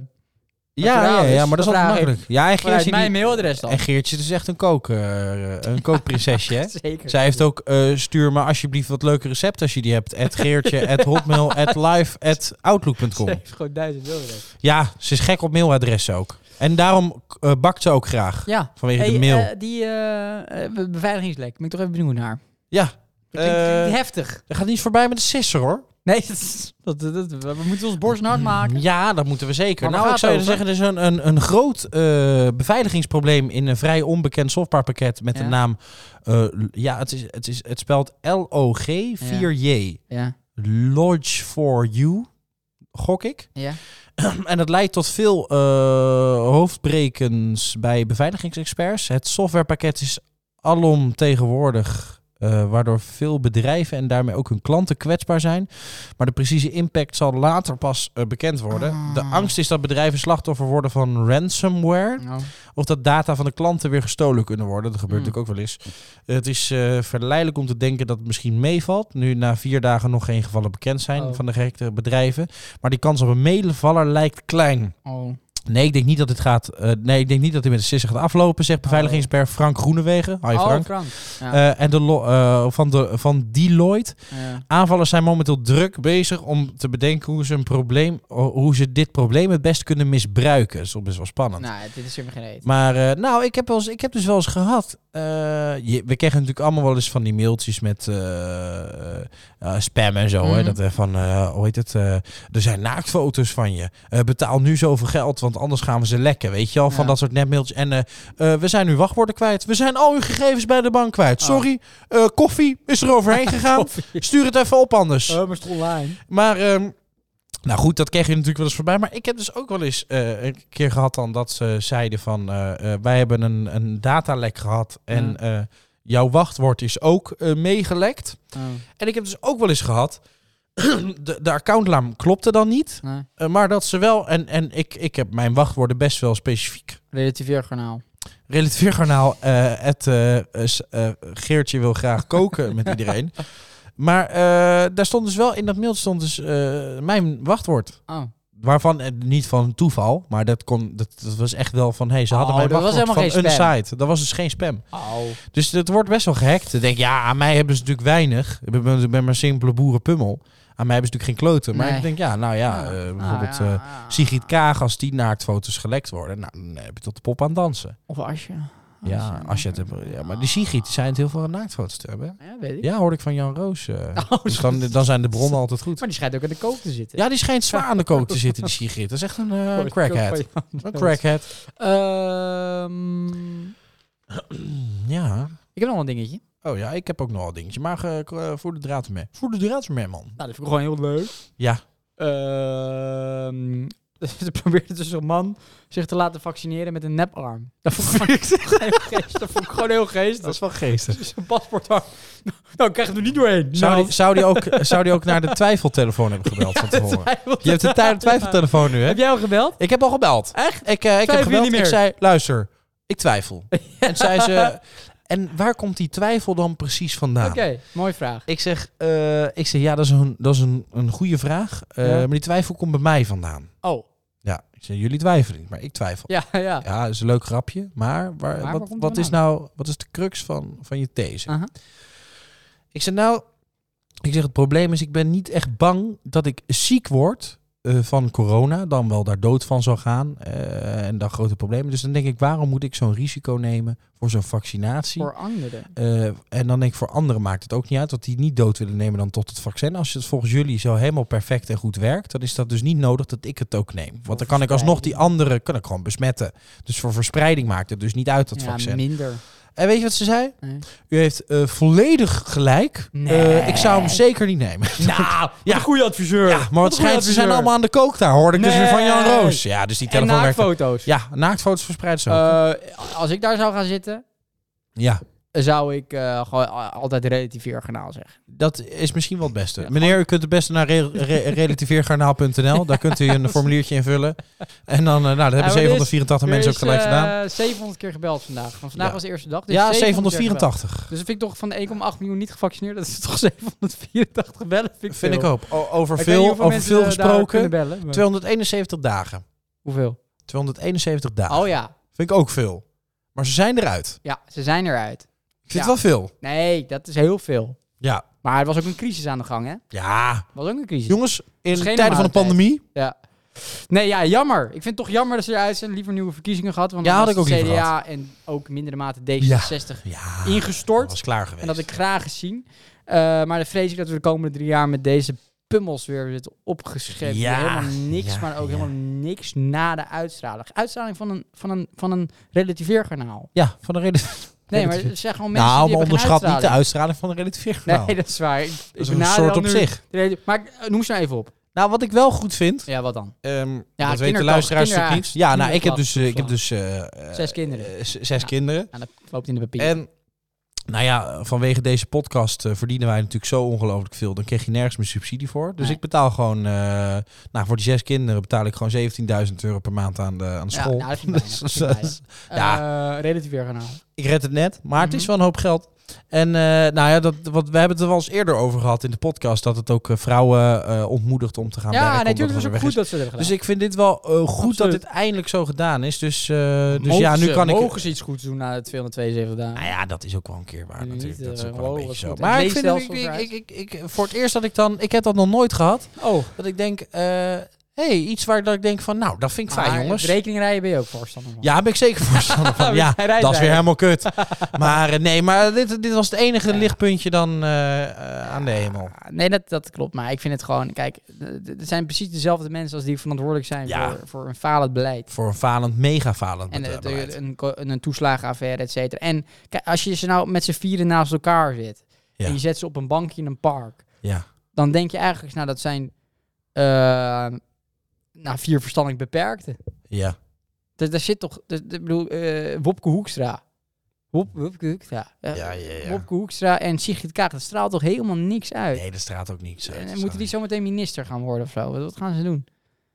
A: Ja, ja,
B: Naturalis.
A: ja, maar dat is altijd
B: Dat vraag ik.
A: makkelijk. Ja, en
B: vanuit
A: Geertje, die-
B: mijn mailadres dan.
A: en Geertje is echt een, kook, eh, een kookprinsesje. Hè?
B: [LAUGHS] Zeker.
A: Zij heeft ook, eh, stuur me alsjeblieft wat leuke recepten als je die hebt. At Geertje, at hotmail,
B: [LAUGHS]
A: at live, at outlook.com.
B: Ze heeft gewoon duizend mailadres.
A: Ja, ze is gek op mailadressen ook. En daarom eh, bakt ze ook graag.
B: Ja.
A: Vanwege
B: Hey,
A: de mail.
B: eh, die eh, eh, be- beveiligingslek. Ben ik toch even benieuwd naar.
A: ja,
B: Dat klinkt- klinkt
A: Eh,
B: heftig.
A: dat gaat niet voorbij met de sisser hoor.
B: Nee, [LAUGHS] dat, is- dat, dat- dat- we moeten ons borst nat maken.
A: Ja, dat moeten we zeker.
B: Maar waar
A: Nou, ik
B: gaat
A: zou je
B: het
A: zeggen, er is een, een, een groot eh, beveiligingsprobleem in een vrij onbekend softwarepakket met
B: Ja.
A: de naam. eh, l- ja, het, is, het, is, het spelt LOG4J.
B: [LAUGHS] Ja.
A: Lodge for You, gok ik.
B: Ja.
A: [CLEARS THROAT] En dat leidt tot veel eh, hoofdbrekens bij beveiligingsexperts. Het softwarepakket is alom tegenwoordig, eh, waardoor veel bedrijven en daarmee ook hun klanten kwetsbaar zijn. Maar de precieze impact zal later pas eh, bekend worden.
B: Ah.
A: De angst is dat bedrijven slachtoffer worden van ransomware.
B: Nou,
A: Of dat data van de klanten weer gestolen kunnen worden. Dat gebeurt
B: Mm.
A: natuurlijk ook wel eens. Het is eh, verleidelijk om te denken dat het misschien meevalt. Nu na vier dagen nog geen gevallen bekend zijn
B: Oh.
A: van de gerekte bedrijven. Maar die kans op een medevaller lijkt klein.
B: oh.
A: Nee, ik denk niet dat dit gaat. eh, nee, ik denk niet dat dit met de sisser gaat aflopen, zegt beveiligingsper Frank Groenewegen. Hi
B: Oh,
A: Frank.
B: Ja.
A: Eh, en de lo- eh, van, de, van Deloitte.
B: Ja.
A: Aanvallers zijn momenteel druk bezig om te bedenken hoe ze, een probleem, hoe ze dit probleem het best kunnen misbruiken. Dat is toch best wel spannend.
B: nou, dit is helemaal geen [LAUGHS] eten.
A: Maar eh, nou, ik heb, wel eens, ik heb dus wel eens gehad. eh, je- we kregen natuurlijk allemaal wel eens van die mailtjes met eh, eh, spam en zo. Hè,
B: Mhm.
A: dat er van, eh, hoe heet het? eh, er zijn naaktfoto's van je. Eh, betaal nu zoveel geld, want anders gaan we ze lekken. Weet je al, van
B: Ja.
A: dat soort netmailtjes. En eh, eh, we zijn uw wachtwoorden kwijt. We zijn al uw gegevens bij de bank kwijt.
B: Oh.
A: Sorry, eh, koffie is er
B: [LAUGHS]
A: overheen gegaan. Stuur het even op anders.
B: Oh, maar is het online?
A: Maar, ehm, nou goed, dat kreeg je natuurlijk wel eens voorbij. Maar ik heb dus ook wel eens eh, een keer gehad dan dat ze zeiden van... eh, eh, wij hebben een, een datalek gehad en
B: Ja.
A: eh, jouw wachtwoord is ook eh, meegelekt.
B: Oh,
A: En ik heb dus ook wel eens gehad... [CLEARS THROAT] De, de accountnaam klopte dan niet,
B: nee.
A: eh, maar dat ze wel... En, en ik, ik heb mijn wachtwoorden best wel specifiek.
B: Relativeer kanaal.
A: Relativeergarnaal, eh het eh, s- eh, Geertje wil graag koken met iedereen. Maar eh, daar stond dus wel in dat mail stond dus eh, mijn wachtwoord.
B: Oh.
A: Waarvan eh, niet van toeval, maar dat, kon, dat, dat was echt wel van hey, ze
B: Oh,
A: hadden mijn
B: dat was
A: wachtwoord van
B: helemaal
A: een
B: geen spam.
A: site. Dat was dus geen spam.
B: Oh.
A: Dus dat wordt best wel gehackt. Dan denk ik, ja, aan mij hebben ze natuurlijk weinig. Ik ben, ik ben maar simpele boerenpummel. Aan mij hebben ze natuurlijk geen kloten. Maar
B: Nee.
A: ik denk, ja, nou ja, eh,
B: Ah,
A: bijvoorbeeld eh Sigrid Kaag, als die naaktfoto's gelekt worden, nou, dan heb je tot de pop aan het dansen.
B: Of Asje. Oh,
A: Ja, als je het hebt. Ja, maar die Sigrid die schijnt heel veel naaktfoto's te hebben.
B: Ja, weet ik.
A: Ja, hoorde ik van Jan Roos. eh.
B: [LAUGHS] Oh,
A: dus
B: [LAUGHS]
A: dan, dan zijn de bronnen altijd goed.
B: Maar die schijnt ook aan de kook te zitten.
A: Ja, die schijnt zwaar aan de kook te zitten, die Sigrid. Dat is echt een eh,
B: Voor de
A: crackhead.
B: kook van Jan
A: Een
B: Roos.
A: crackhead.
B: Ehm,
A: Ja.
B: ik heb nog wel een dingetje.
A: Oh ja, ik heb ook nog wel een dingetje. Maar eh, k- eh, voer de draad mee. Voer de draad mee, man.
B: Nou, dat vind ik gewoon heel leuk.
A: Ja.
B: Ehm, [LAUGHS] Ze probeerde dus een man zich te laten vaccineren met een neparm. Dat vond
A: [LAUGHS]
B: ik gewoon heel geestig. Dat vond ik gewoon heel geestig.
A: wel geestig.
B: Dus een paspoortarm. Nou, ik krijg het er niet doorheen.
A: [LAUGHS] Zou
B: Nou, [LAUGHS]
A: die, zou, die ook, eh, zou die ook naar de twijfeltelefoon hebben gebeld van tevoren? Je hebt de tij- twijfeltelefoon nu, hè?
B: Heb jij al gebeld?
A: Ik heb al gebeld. Echt? Ik, eh, ik heb
B: Twijfel je
A: gebeld.
B: niet meer?
A: Ik zei, luister, ik
B: [LAUGHS]
A: twijfel. En zei ze, en waar komt die twijfel dan precies vandaan?
B: Oké, mooie vraag.
A: Ik zeg, eh, ik zeg, ja, dat is een, dat is een, een goede vraag. eh,
B: Ja.
A: Maar die twijfel komt bij mij vandaan.
B: Oh,
A: Ja, ik zeg, jullie twijfelen niet, maar ik twijfel.
B: ja,
A: [LAUGHS]
B: ja.
A: Ja, dat is een leuk grapje. Maar, waar,
B: waar
A: wat,
B: komt het
A: wat is
B: vandaan?
A: nou, wat is de crux van, van je these?
B: Aha.
A: Ik zeg, nou, ik zeg, het probleem is, ik ben niet echt bang dat ik ziek word eh, van corona dan wel daar dood van zou gaan eh, en dan grote problemen. Dus dan denk ik, waarom moet ik zo'n risico nemen voor zo'n vaccinatie?
B: voor anderen.
A: Eh, en dan denk ik, voor anderen maakt het ook niet uit dat die niet dood willen nemen dan tot het vaccin. Als het volgens jullie zo helemaal perfect en goed werkt, dan is dat dus niet nodig dat ik het ook neem. Want dan kan ik alsnog die anderen kan ik gewoon besmetten. Dus voor verspreiding maakt het dus niet uit dat
B: ja,
A: vaccin.
B: minder.
A: [LAUGHS] En weet je wat ze zei?
B: Nee.
A: U heeft eh, volledig gelijk.
B: Nee.
A: Eh, ik zou hem zeker niet
B: [LAUGHS]
A: nemen.
D: Nou, ja.
A: Ja.
D: een goede adviseur.
A: ja, maar wat
D: een goede
A: schijnt, ze zijn
D: adviseur.
A: allemaal aan de kook daar, hoorde ik dus weer van Jan
D: Nee.
A: Roos. Ja, dus die
B: En
A: telefoon werkt.
B: naaktfoto's.
A: Ja, naaktfoto's verspreid zo.
B: Eh, als ik daar zou gaan zitten,
A: ja,
B: zou ik eh, gewoon a- altijd relativeer genaal zeggen.
A: dat is misschien wel het beste. Meneer, u kunt het beste naar re re- relativeergarnaal.nl. Daar kunt u
B: [LAUGHS]
A: een formuliertje invullen. En dan, eh, nou, dat
B: Ja, maar
A: hebben
B: dit-
A: 784 mensen ook
B: eh,
A: gelijk gedaan.
B: gedaan. 700 keer gebeld vandaag. Want vandaag
A: Ja.
B: was de eerste dag. Dus
A: Ja,
B: 700 keer gebeld.
A: 784.
B: Dus dat vind ik toch van de 1,8 miljoen niet gevaccineerd. Dat is toch [LAUGHS] 784 bellen. Vind ik,
A: Vind ik
B: veel.
A: ook. O- over
B: Ik weet niet
A: veel,
B: hoeveel
A: over
B: mensen eh,
A: veel
B: daar kunnen
A: gesproken.
B: Bellen, maar-
A: 271 dagen.
B: Hoeveel?
A: 271 dagen.
B: Oh ja.
A: Vind ik ook veel. Maar ze zijn eruit.
B: ja, ze zijn eruit.
A: Ik vind
B: Ja.
A: het wel veel.
B: Nee, dat is heel veel.
A: Ja.
B: Maar er was ook een crisis aan de gang, hè? Er
A: Ja.
B: was ook een crisis.
A: Jongens, in tijden
B: geen
A: van
B: normale
A: de pandemie
B: Ja. Nee, ja, jammer. Ik vind het toch jammer dat ze eruit zijn. Liever nieuwe verkiezingen gehad. Want
A: Ja,
B: dan
A: had
B: was
A: ik ook
B: het
A: liever
B: CDA en ook in mindere mate D66
A: Ja, dat
B: ingestort.
A: was klaar geweest.
B: en dat had ik graag gezien. Eh, maar dan vrees ik dat we de komende drie jaar met deze pummels weer zitten opgeschreven.
A: Ja,
B: Helemaal niks,
A: ja,
B: maar ook
A: ja.
B: helemaal niks na de uitstraling. Uitstraling van een, van een, van een relativeergarnaal.
A: Ja, van de reden. [LAUGHS]
B: Nee, maar
A: Relatief-
B: het zijn gewoon mensen
A: Nou,
B: die
A: maar
B: hebben geen
A: onderschat niet de
B: uitstraling.
A: uitstraling van een relatief verhaal.
B: Nee, dat is waar. Ik, ik
A: dat is een
B: benadeel
A: soort op
B: nu
A: zich.
B: de reden- Maar eh, noem ze nou even op.
A: Nou, wat ik wel goed vind,
B: Ja, wat dan?
A: ehm, dat weten de
B: kinderdag,
A: luisteraars natuurlijk niet.
B: kinderarts,
A: Ja, nou, ik heb
B: kinderklas,
A: dus, eh, ik heb
B: opslag.
A: dus eh, eh,
B: Zes kinderen.
A: eh, z- zes
B: Ja.
A: kinderen.
B: Nou, dat loopt in de papier.
A: En nou ja, vanwege deze podcast eh, verdienen wij natuurlijk zo ongelooflijk veel. Dan kreeg je nergens meer subsidie voor. Dus
B: Nee.
A: ik betaal gewoon, eh, nou voor die zes kinderen betaal ik gewoon 17.000 euro per maand aan de, aan de school.
B: Ja, nou, dat
A: [LAUGHS]
B: vind ik
A: Dus
B: weinig. Dat vind ik
A: dat is-
B: weinig. Eh, relatief weer kanaal.
A: ik red het net, maar het is
B: Mhm.
A: wel een hoop geld. En eh, nou ja, dat, wat, we hebben het er wel eens eerder over gehad in de podcast. Dat het ook eh, vrouwen eh, ontmoedigt om te gaan werken.
B: Ja,
A: omdat
B: natuurlijk
A: het
B: is
A: weer
B: ook
A: weg
B: goed dat ze dat hebben
A: Dus
B: gedaan.
A: ik vind dit wel eh, goed dat
B: Absoluut.
A: dit eindelijk zo gedaan is. Dus, eh, dus
B: Mogen
A: ja, nu
B: ze-
A: kan ik...
B: Mogen ze iets goeds doen na de 272 dagen?
A: Nou ja, dat is ook wel een keer waar
B: Niet,
A: natuurlijk. Dat is
B: eh,
A: ook wel een
B: wow,
A: beetje
B: wat
A: zo.
B: goed.
A: Maar
B: Het
A: ik vind dat ik,
B: leefstelsel
A: ik, ik, ik, ik- voor het eerst dat ik dan... Ik heb dat nog nooit gehad.
B: Oh,
A: Dat ik denk, hé, hey, iets waar dat ik denk van... Nou, dat vind ik fijn,
B: maar
A: jongens.
B: het rekeningrijden ben je ook voorstander van.
A: Ja, daar ben ik zeker voorstander
B: [LAUGHS]
A: van. Ja,
B: Rijden,
A: dat is weer
B: rijden.
A: helemaal kut.
B: [LAUGHS]
A: Maar eh, nee, maar dit, dit was het enige lichtpuntje dan eh, eh, aan de hemel.
B: Ja, Nee, dat, dat klopt. Maar ik vind het gewoon... Kijk, het zijn precies dezelfde mensen als die verantwoordelijk zijn
A: Ja.
B: voor, voor een falend beleid.
A: Voor een falend, mega falend
B: En eh,
A: bete-
B: het,
A: beleid.
B: een, ko- een toeslagenaffaire, et cetera. En kijk, als je ze nou met z'n vieren naast elkaar zit...
A: Ja.
B: en je zet ze op een bankje in een park...
A: Ja.
B: dan denk je eigenlijk, nou, dat zijn eh, nou, vier verstandelijk beperkten.
A: Ja,
B: Daar, daar zit toch, daar- daar- ik bedoel, eh Wopke Hoekstra. Wop, Wopke Hoekstra. Eh,
A: ja, ja. ja.
B: Wopke Hoekstra en Sigrid Kaag, dat straalt toch helemaal niks uit.
A: Nee, de straat ook niet. zo.
B: en en moeten die zometeen minister gaan worden of zo? Wat, wat gaan ze doen?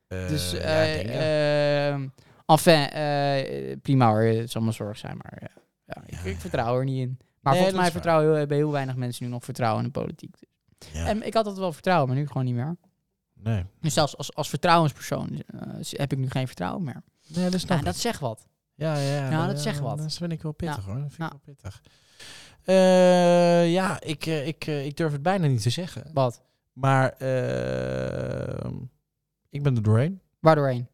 A: Eh,
B: dus,
A: ja, ik
B: eh
A: denk het.
B: eh, enfin, eh, prima hoor, het zal mijn zorg zijn, maar ja, ja, ik,
A: Ja.
B: ik vertrouw er niet in. Maar
A: Nee, dat
B: volgens mij
A: is
B: vertrouwen heel, hebben heel weinig mensen nu nog vertrouwen in de politiek.
A: Ja.
B: En ik had dat wel vertrouwen, maar nu gewoon niet meer.
A: Nee.
B: Dus zelfs als, als vertrouwenspersoon eh, heb ik nu geen vertrouwen meer.
A: Nee, dat snap
B: Nou, dat zegt wat.
A: Ja, ja, ja.
B: Nou,
A: dat-
B: dat zegt wat.
A: Dat vind ik wel pittig hoor. Dat vind
B: Nou.
A: ik wel pittig. Eh, ja, ik, eh, ik, eh, ik durf het bijna niet te zeggen.
B: Wat?
A: Maar eh, ik ben er doorheen.
B: Waardoorheen?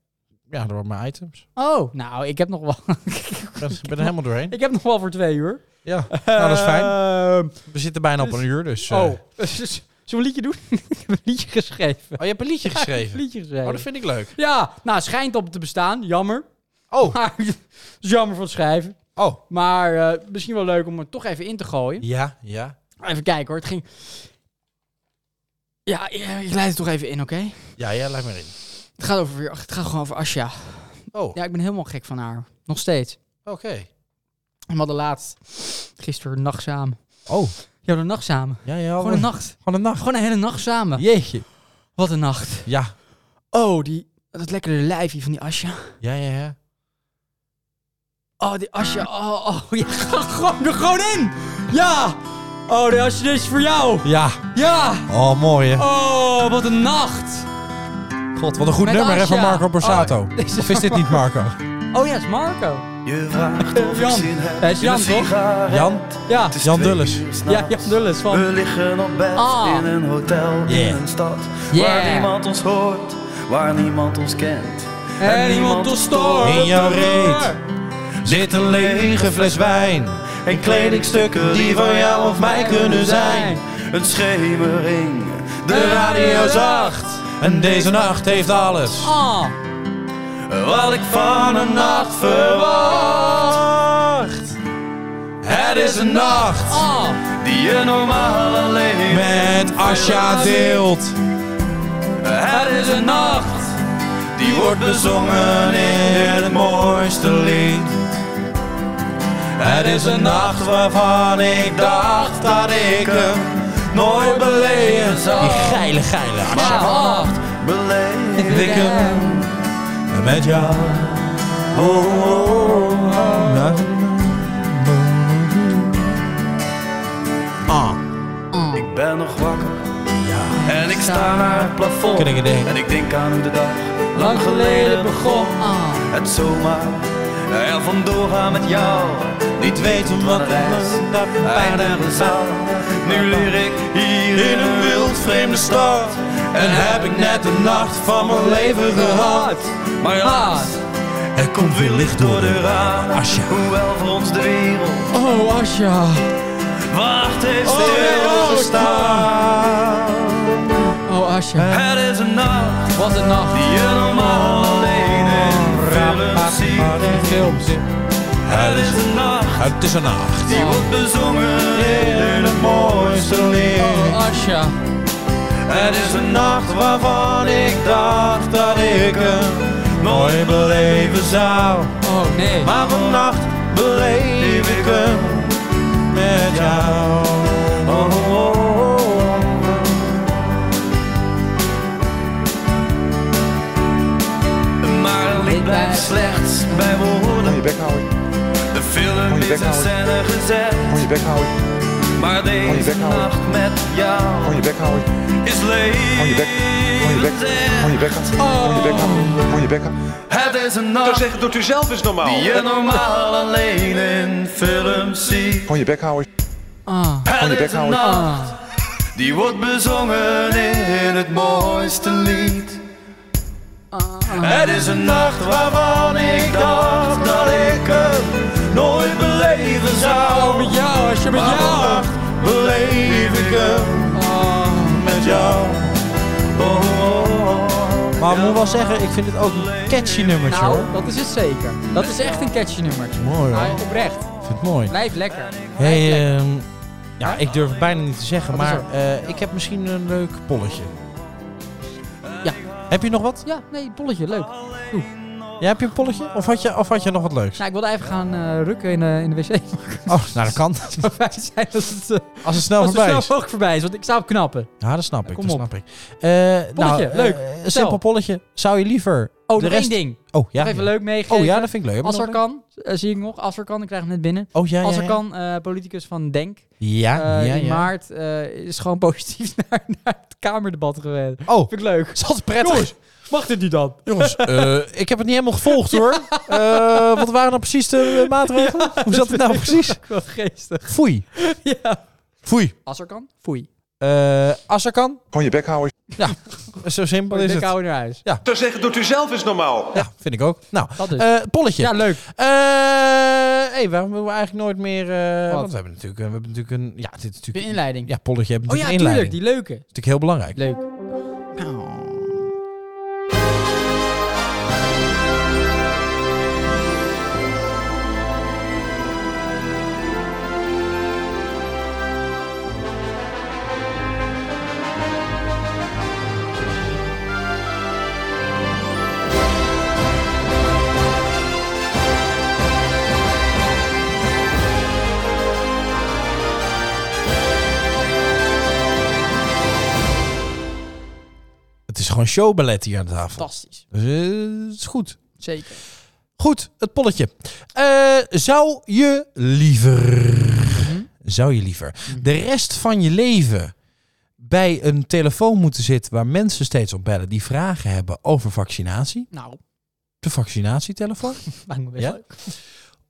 A: Ja, door mijn items.
B: Oh, nou, ik heb nog wel, [LAUGHS]
A: Ik ben, ik ben er helemaal doorheen.
B: ik heb nog wel voor twee uur.
A: Ja, nou dat is fijn.
B: Ehm,
A: We zitten bijna op een uur, dus... eh.
B: oh, [LAUGHS] zullen we een liedje doen? [LAUGHS] ik heb een liedje geschreven.
A: Oh, je hebt een
B: [LAUGHS]
A: liedje
B: Ik heb
A: [LAUGHS]
B: een
A: geschreven.
B: liedje geschreven.
A: Oh, dat vind ik leuk.
B: Ja, nou, schijnt op te bestaan. Jammer. [LAUGHS]
A: Oh,
B: Maar het is jammer van het schrijven.
A: oh.
B: Maar eh, misschien wel leuk om het toch even in te gooien.
A: Ja, ja.
B: Even kijken hoor, het ging... Ja, ja, ik leid het toch even in, oké?
A: Ja, ja, laat maar in.
B: Het gaat, over, het gaat gewoon over Asja.
A: Oh,
B: Ja, ik ben helemaal gek van haar. Nog steeds.
A: oké.
B: We hadden laatst, gisteren, nacht samen.
A: Oh,
B: Ja, de nacht samen.
A: ja, ja. oh.
B: Gewoon een nacht.
A: Gewoon een nacht.
B: Gewoon een hele nacht samen.
A: Jeetje.
B: Wat een nacht.
A: Ja,
B: Oh, die, dat lekkere lijfje van die Asja.
A: ja, ja, ja.
B: Oh, die Asja. Oh, oh. Ja, [LAUGHS] ga gewoon, er gewoon in. Ja. Oh, die Asja, dit is voor jou.
A: Ja.
B: Ja.
A: Oh, mooi hè.
B: Oh, wat een nacht.
A: God, wat een goed
B: Met
A: nummer hè, van
B: Asja.
A: Marco Borsato.
B: Oh, dit is
A: of is dit niet [LAUGHS] Marco?
B: Oh ja, het is Marco.
F: Je vraagt of
B: Jan.
F: ik zin heb
B: Dat is
F: in een
B: Jan, toch?
F: sigaret.
A: Eh, Jan?
B: Ja.
F: Het is
A: Jan
F: twee
A: Dulles.
F: uur 's
B: Ja,
F: nachts.
B: Jan Dulles
F: We
B: van...
F: liggen op bed
B: Ah.
F: in een hotel
A: Yeah.
F: in een stad
B: Yeah.
F: waar niemand ons hoort. waar niemand ons kent.
D: En niemand ons stoort.
A: In jouw reet zit een lege fles wijn.
F: En kledingstukken
A: Die van jou of mij kunnen zijn.
F: Een schemering,
A: De radio zacht. En deze nacht heeft alles.
D: Ah.
A: Wat ik van een nacht verwacht. Het is een nacht
D: Ah.
F: die je normaal alleen
A: met Asja deelt.
F: Het is een nacht
A: Die wordt bezongen in het mooiste lied. Het is een nacht waarvan ik dacht dat ik hem nooit beleven zou. Die geile, geile Asja.
D: Ah.
F: beleefd.
A: Ik hem met jou. Oh, oh, oh. Na, na, na. Ah,
F: Ik ben nog wakker en ik sta naar het plafond.
A: kan ik het denken.
F: En ik denk aan hoe de dag lang geleden begon. Het zomaar er vandoor gaan met jou.
A: Niet weten wat
F: Van een reis,
A: me dat
F: eindig de
A: pijn
F: zaal. Nu leer ik hier
A: In een wild vreemde stad. En heb ik net de nacht van mijn leven
B: Ah.
A: gehad.
F: Maar helaas,
A: Er komt weer licht
F: door de ramen.
A: Asja.
F: Hoewel voor ons de
B: Ah.
F: wereld
D: Oh, Asja.
F: wacht heeft
A: stilgestaan.
D: Oh, Asja.
F: Het is een nacht
B: Eh.
D: Wat een nacht.
F: die je normaal alleen in films ziet. Het is een nacht
A: Het is een nacht.
F: die wordt bezongen in het mooiste lied.
D: Oh, Asja.
F: Het is een nacht
A: nacht waarvan ik dacht dat ik hem nooit beleven zou.
D: Oh, nee.
A: Maar vannacht beleef ik hem met jou. Oh, oh, oh, oh.
F: Maar een lied blijft slechts bij woorden. De film is in scène gezet. Maar deze nacht met jou is levensend. Het is een
C: Dan
F: nacht
C: zeg het doet u zelf eens normaal.
F: die je normaal alleen in films ziet.
D: Ah.
F: Het is een nacht
D: Ah.
F: die wordt bezongen in het mooiste lied. Het is een nacht waarvan ik dacht dat ik het nooit beleven zou.
D: Met jou, Asja, met
F: Maar
D: jou.
F: vannacht beleef ik hem
D: Ah.
F: met jou. Oh, oh, oh.
A: Maar ik moet wel zeggen, ik vind het ook een catchy nummertje hoor.
B: Nou,
A: Ik
B: dat is het zeker. Dat is echt een catchy nummertje.
A: Mooi, hoor.
B: Maar oprecht.
A: vind het mooi.
B: Blijf lekker.
A: Hey, ehm, ja, ik durf het bijna niet te zeggen, maar eh, ik heb misschien een leuk polletje.
B: Ja.
A: Heb je nog wat?
B: Ja, nee, bolletje, leuk.
A: Ja, heb je een polletje? Of had je, of had je nog wat leuks?
B: Nou, ik wilde even gaan eh, rukken in, eh, in de wc.
A: Oh, nou dat kan. [LAUGHS]
B: Maar fijn zijn als het, eh,
A: Als het snel
B: als het
A: voorbij
B: snel
A: is.
B: mogelijk voorbij is, want ik sta op knappen. Oh,
A: Ja, dat snap ik.
B: Kom
A: dat
B: op.
A: snap ik. Eh, nou,
B: Polletje,
A: eh,
B: leuk.
A: Een simpel polletje. Zou je liever...
B: Oh,
A: de
B: nog
A: rest...
B: één ding.
A: Oh, ja.
B: Nog even
A: ja.
B: leuk meegeven.
A: Oh ja, dat vind ik leuk. Heb je nog
B: Als er
A: leuk?
B: kan, eh, zie ik nog. Als er kan, ik krijg hem net binnen.
A: Oh ja,
B: Als
A: ja,
B: er
A: ja.
B: kan, eh, politicus van Denk.
A: Ja,
B: eh,
A: ja,
B: in
A: ja.
B: maart eh, is gewoon [LAUGHS] positief naar, naar het Kamerdebat geweest.
A: Oh, [LAUGHS]
B: Vind ik leuk.
A: is altijd prettig.
B: Jongens. Mag dit niet
A: [LAUGHS]
B: dan?
A: Jongens, eh, ik heb het niet helemaal gevolgd [LAUGHS] hoor. Eh, wat waren nou precies de eh, maatregelen? Hoe zat het [LAUGHS] nou precies?
B: Wel geestig.
A: Foei.
B: [LAUGHS] Ja.
A: Foei.
B: Als er kan, foei.
A: Eh als er kan. Kon je bek houden. Ja, zo simpel is
B: Ik
A: het.
B: hou naar huis.
C: Dan zeg het doet u zelf eens normaal.
A: Ja, vind ik ook. Nou,
B: Dat dus.
A: eh polletje.
B: ja, leuk.
A: Eh, hey, waarom hebben we eigenlijk nooit meer... eh,
B: Wat?
A: want we hebben natuurlijk, eh, we hebben natuurlijk een... Ja, dit is
B: De
A: natuurlijk...
B: inleiding.
A: Ja, polletje hebben
B: oh
A: natuurlijk
B: ja,
A: een inleiding.
B: tuurlijk. Die leuke.
A: Dat is natuurlijk heel belangrijk.
B: Leuk.
A: Het is gewoon showballet hier aan tafel.
B: Fantastisch.
A: Dus, eh, het is goed.
B: Zeker.
A: Goed, het polletje. Eh, zou je liever... Zou je liever de rest van je leven bij een telefoon moeten zitten... waar mensen steeds op bellen die vragen hebben over vaccinatie?
B: Nou,
A: De vaccinatietelefoon?
B: lijkt me best
A: Ja?
B: leuk.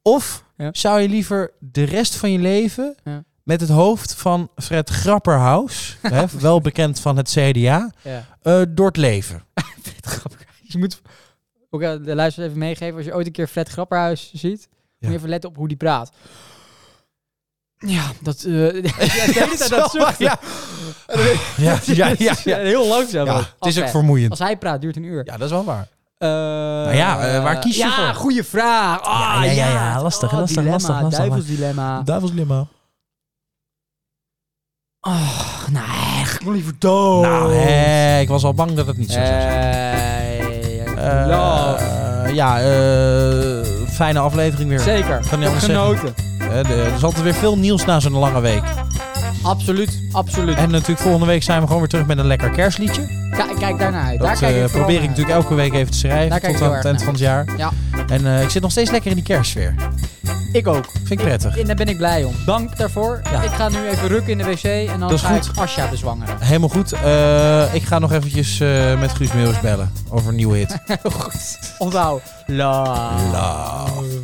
A: Of
B: Ja.
A: zou je liever de rest van je leven
B: Ja.
A: met het hoofd van Fred
B: [LAUGHS]
A: Grapperhaus, hè, wel bekend van het CDA,
B: Ja.
A: eh, door het leven?
B: vet [LAUGHS] grappig. Je moet ook aan de luisteraars even meegeven. Als je ooit een keer Fred Grapperhuis ziet, moet je even letten op hoe die praat. Ja,
A: [LAUGHS]
B: dat... eh [LAUGHS] ja, de hele tijd dat [LAUGHS] zuchten.
A: ja. ja, ja, ja, ja.
B: Heel langzaam.
A: Ja,
B: ook.
A: het is ook
B: Als-
A: vermoeiend.
B: Als hij praat, duurt een uur.
A: Ja, dat is wel waar.
B: Eh,
A: ja, eh, waar kies je
B: ja,
A: voor?
B: goede vraag. Ah,
A: Ja, ja, ja, ja, lastig,
B: Ah,
A: lastig,
B: dilemma,
A: lastig, lastig.
B: Duivelsdilemma.
A: Duivelslimma.
B: Oh, nou, echt, ik wil liever dood.
A: Nou, hè, ik was al bang dat het niet zo zou zijn.
B: Eh,
A: Eh,
B: ja.
A: eh, ja, eh, fijne aflevering weer.
B: Zeker.
A: Kan niet anders
B: Genoten.
A: zeggen. Eh, de- er is altijd weer veel nieuws na zo'n lange week.
B: Absoluut, absoluut.
A: En natuurlijk volgende week zijn we gewoon weer terug met een lekker kerstliedje.
B: Ka- kijk daarnaar uit.
A: Dat
B: Daar kijk
A: eh,
B: ik vooral
A: probeer ik
B: naar
A: natuurlijk elke week even te
B: Daar
A: schrijven.
B: kijk
A: Tot
B: ik
A: aan
B: heel
A: het
B: erg
A: eind van het jaar.
B: Ja.
A: En eh, ik zit nog steeds lekker in die kerstsfeer.
B: uit. Ik ook.
A: Vind ik prettig.
B: En daar ben ik blij om. Dank daarvoor.
A: Ja.
B: Ik ga nu even rukken in de wc en dan
A: Dat is
B: ga
A: goed.
B: ik Asja bezwangeren.
A: Helemaal goed. Eh, ik ga nog eventjes eh, met Guus Meeuwis bellen over een nieuwe hit.
B: Heel goed. Onthoud. Love.
A: Love.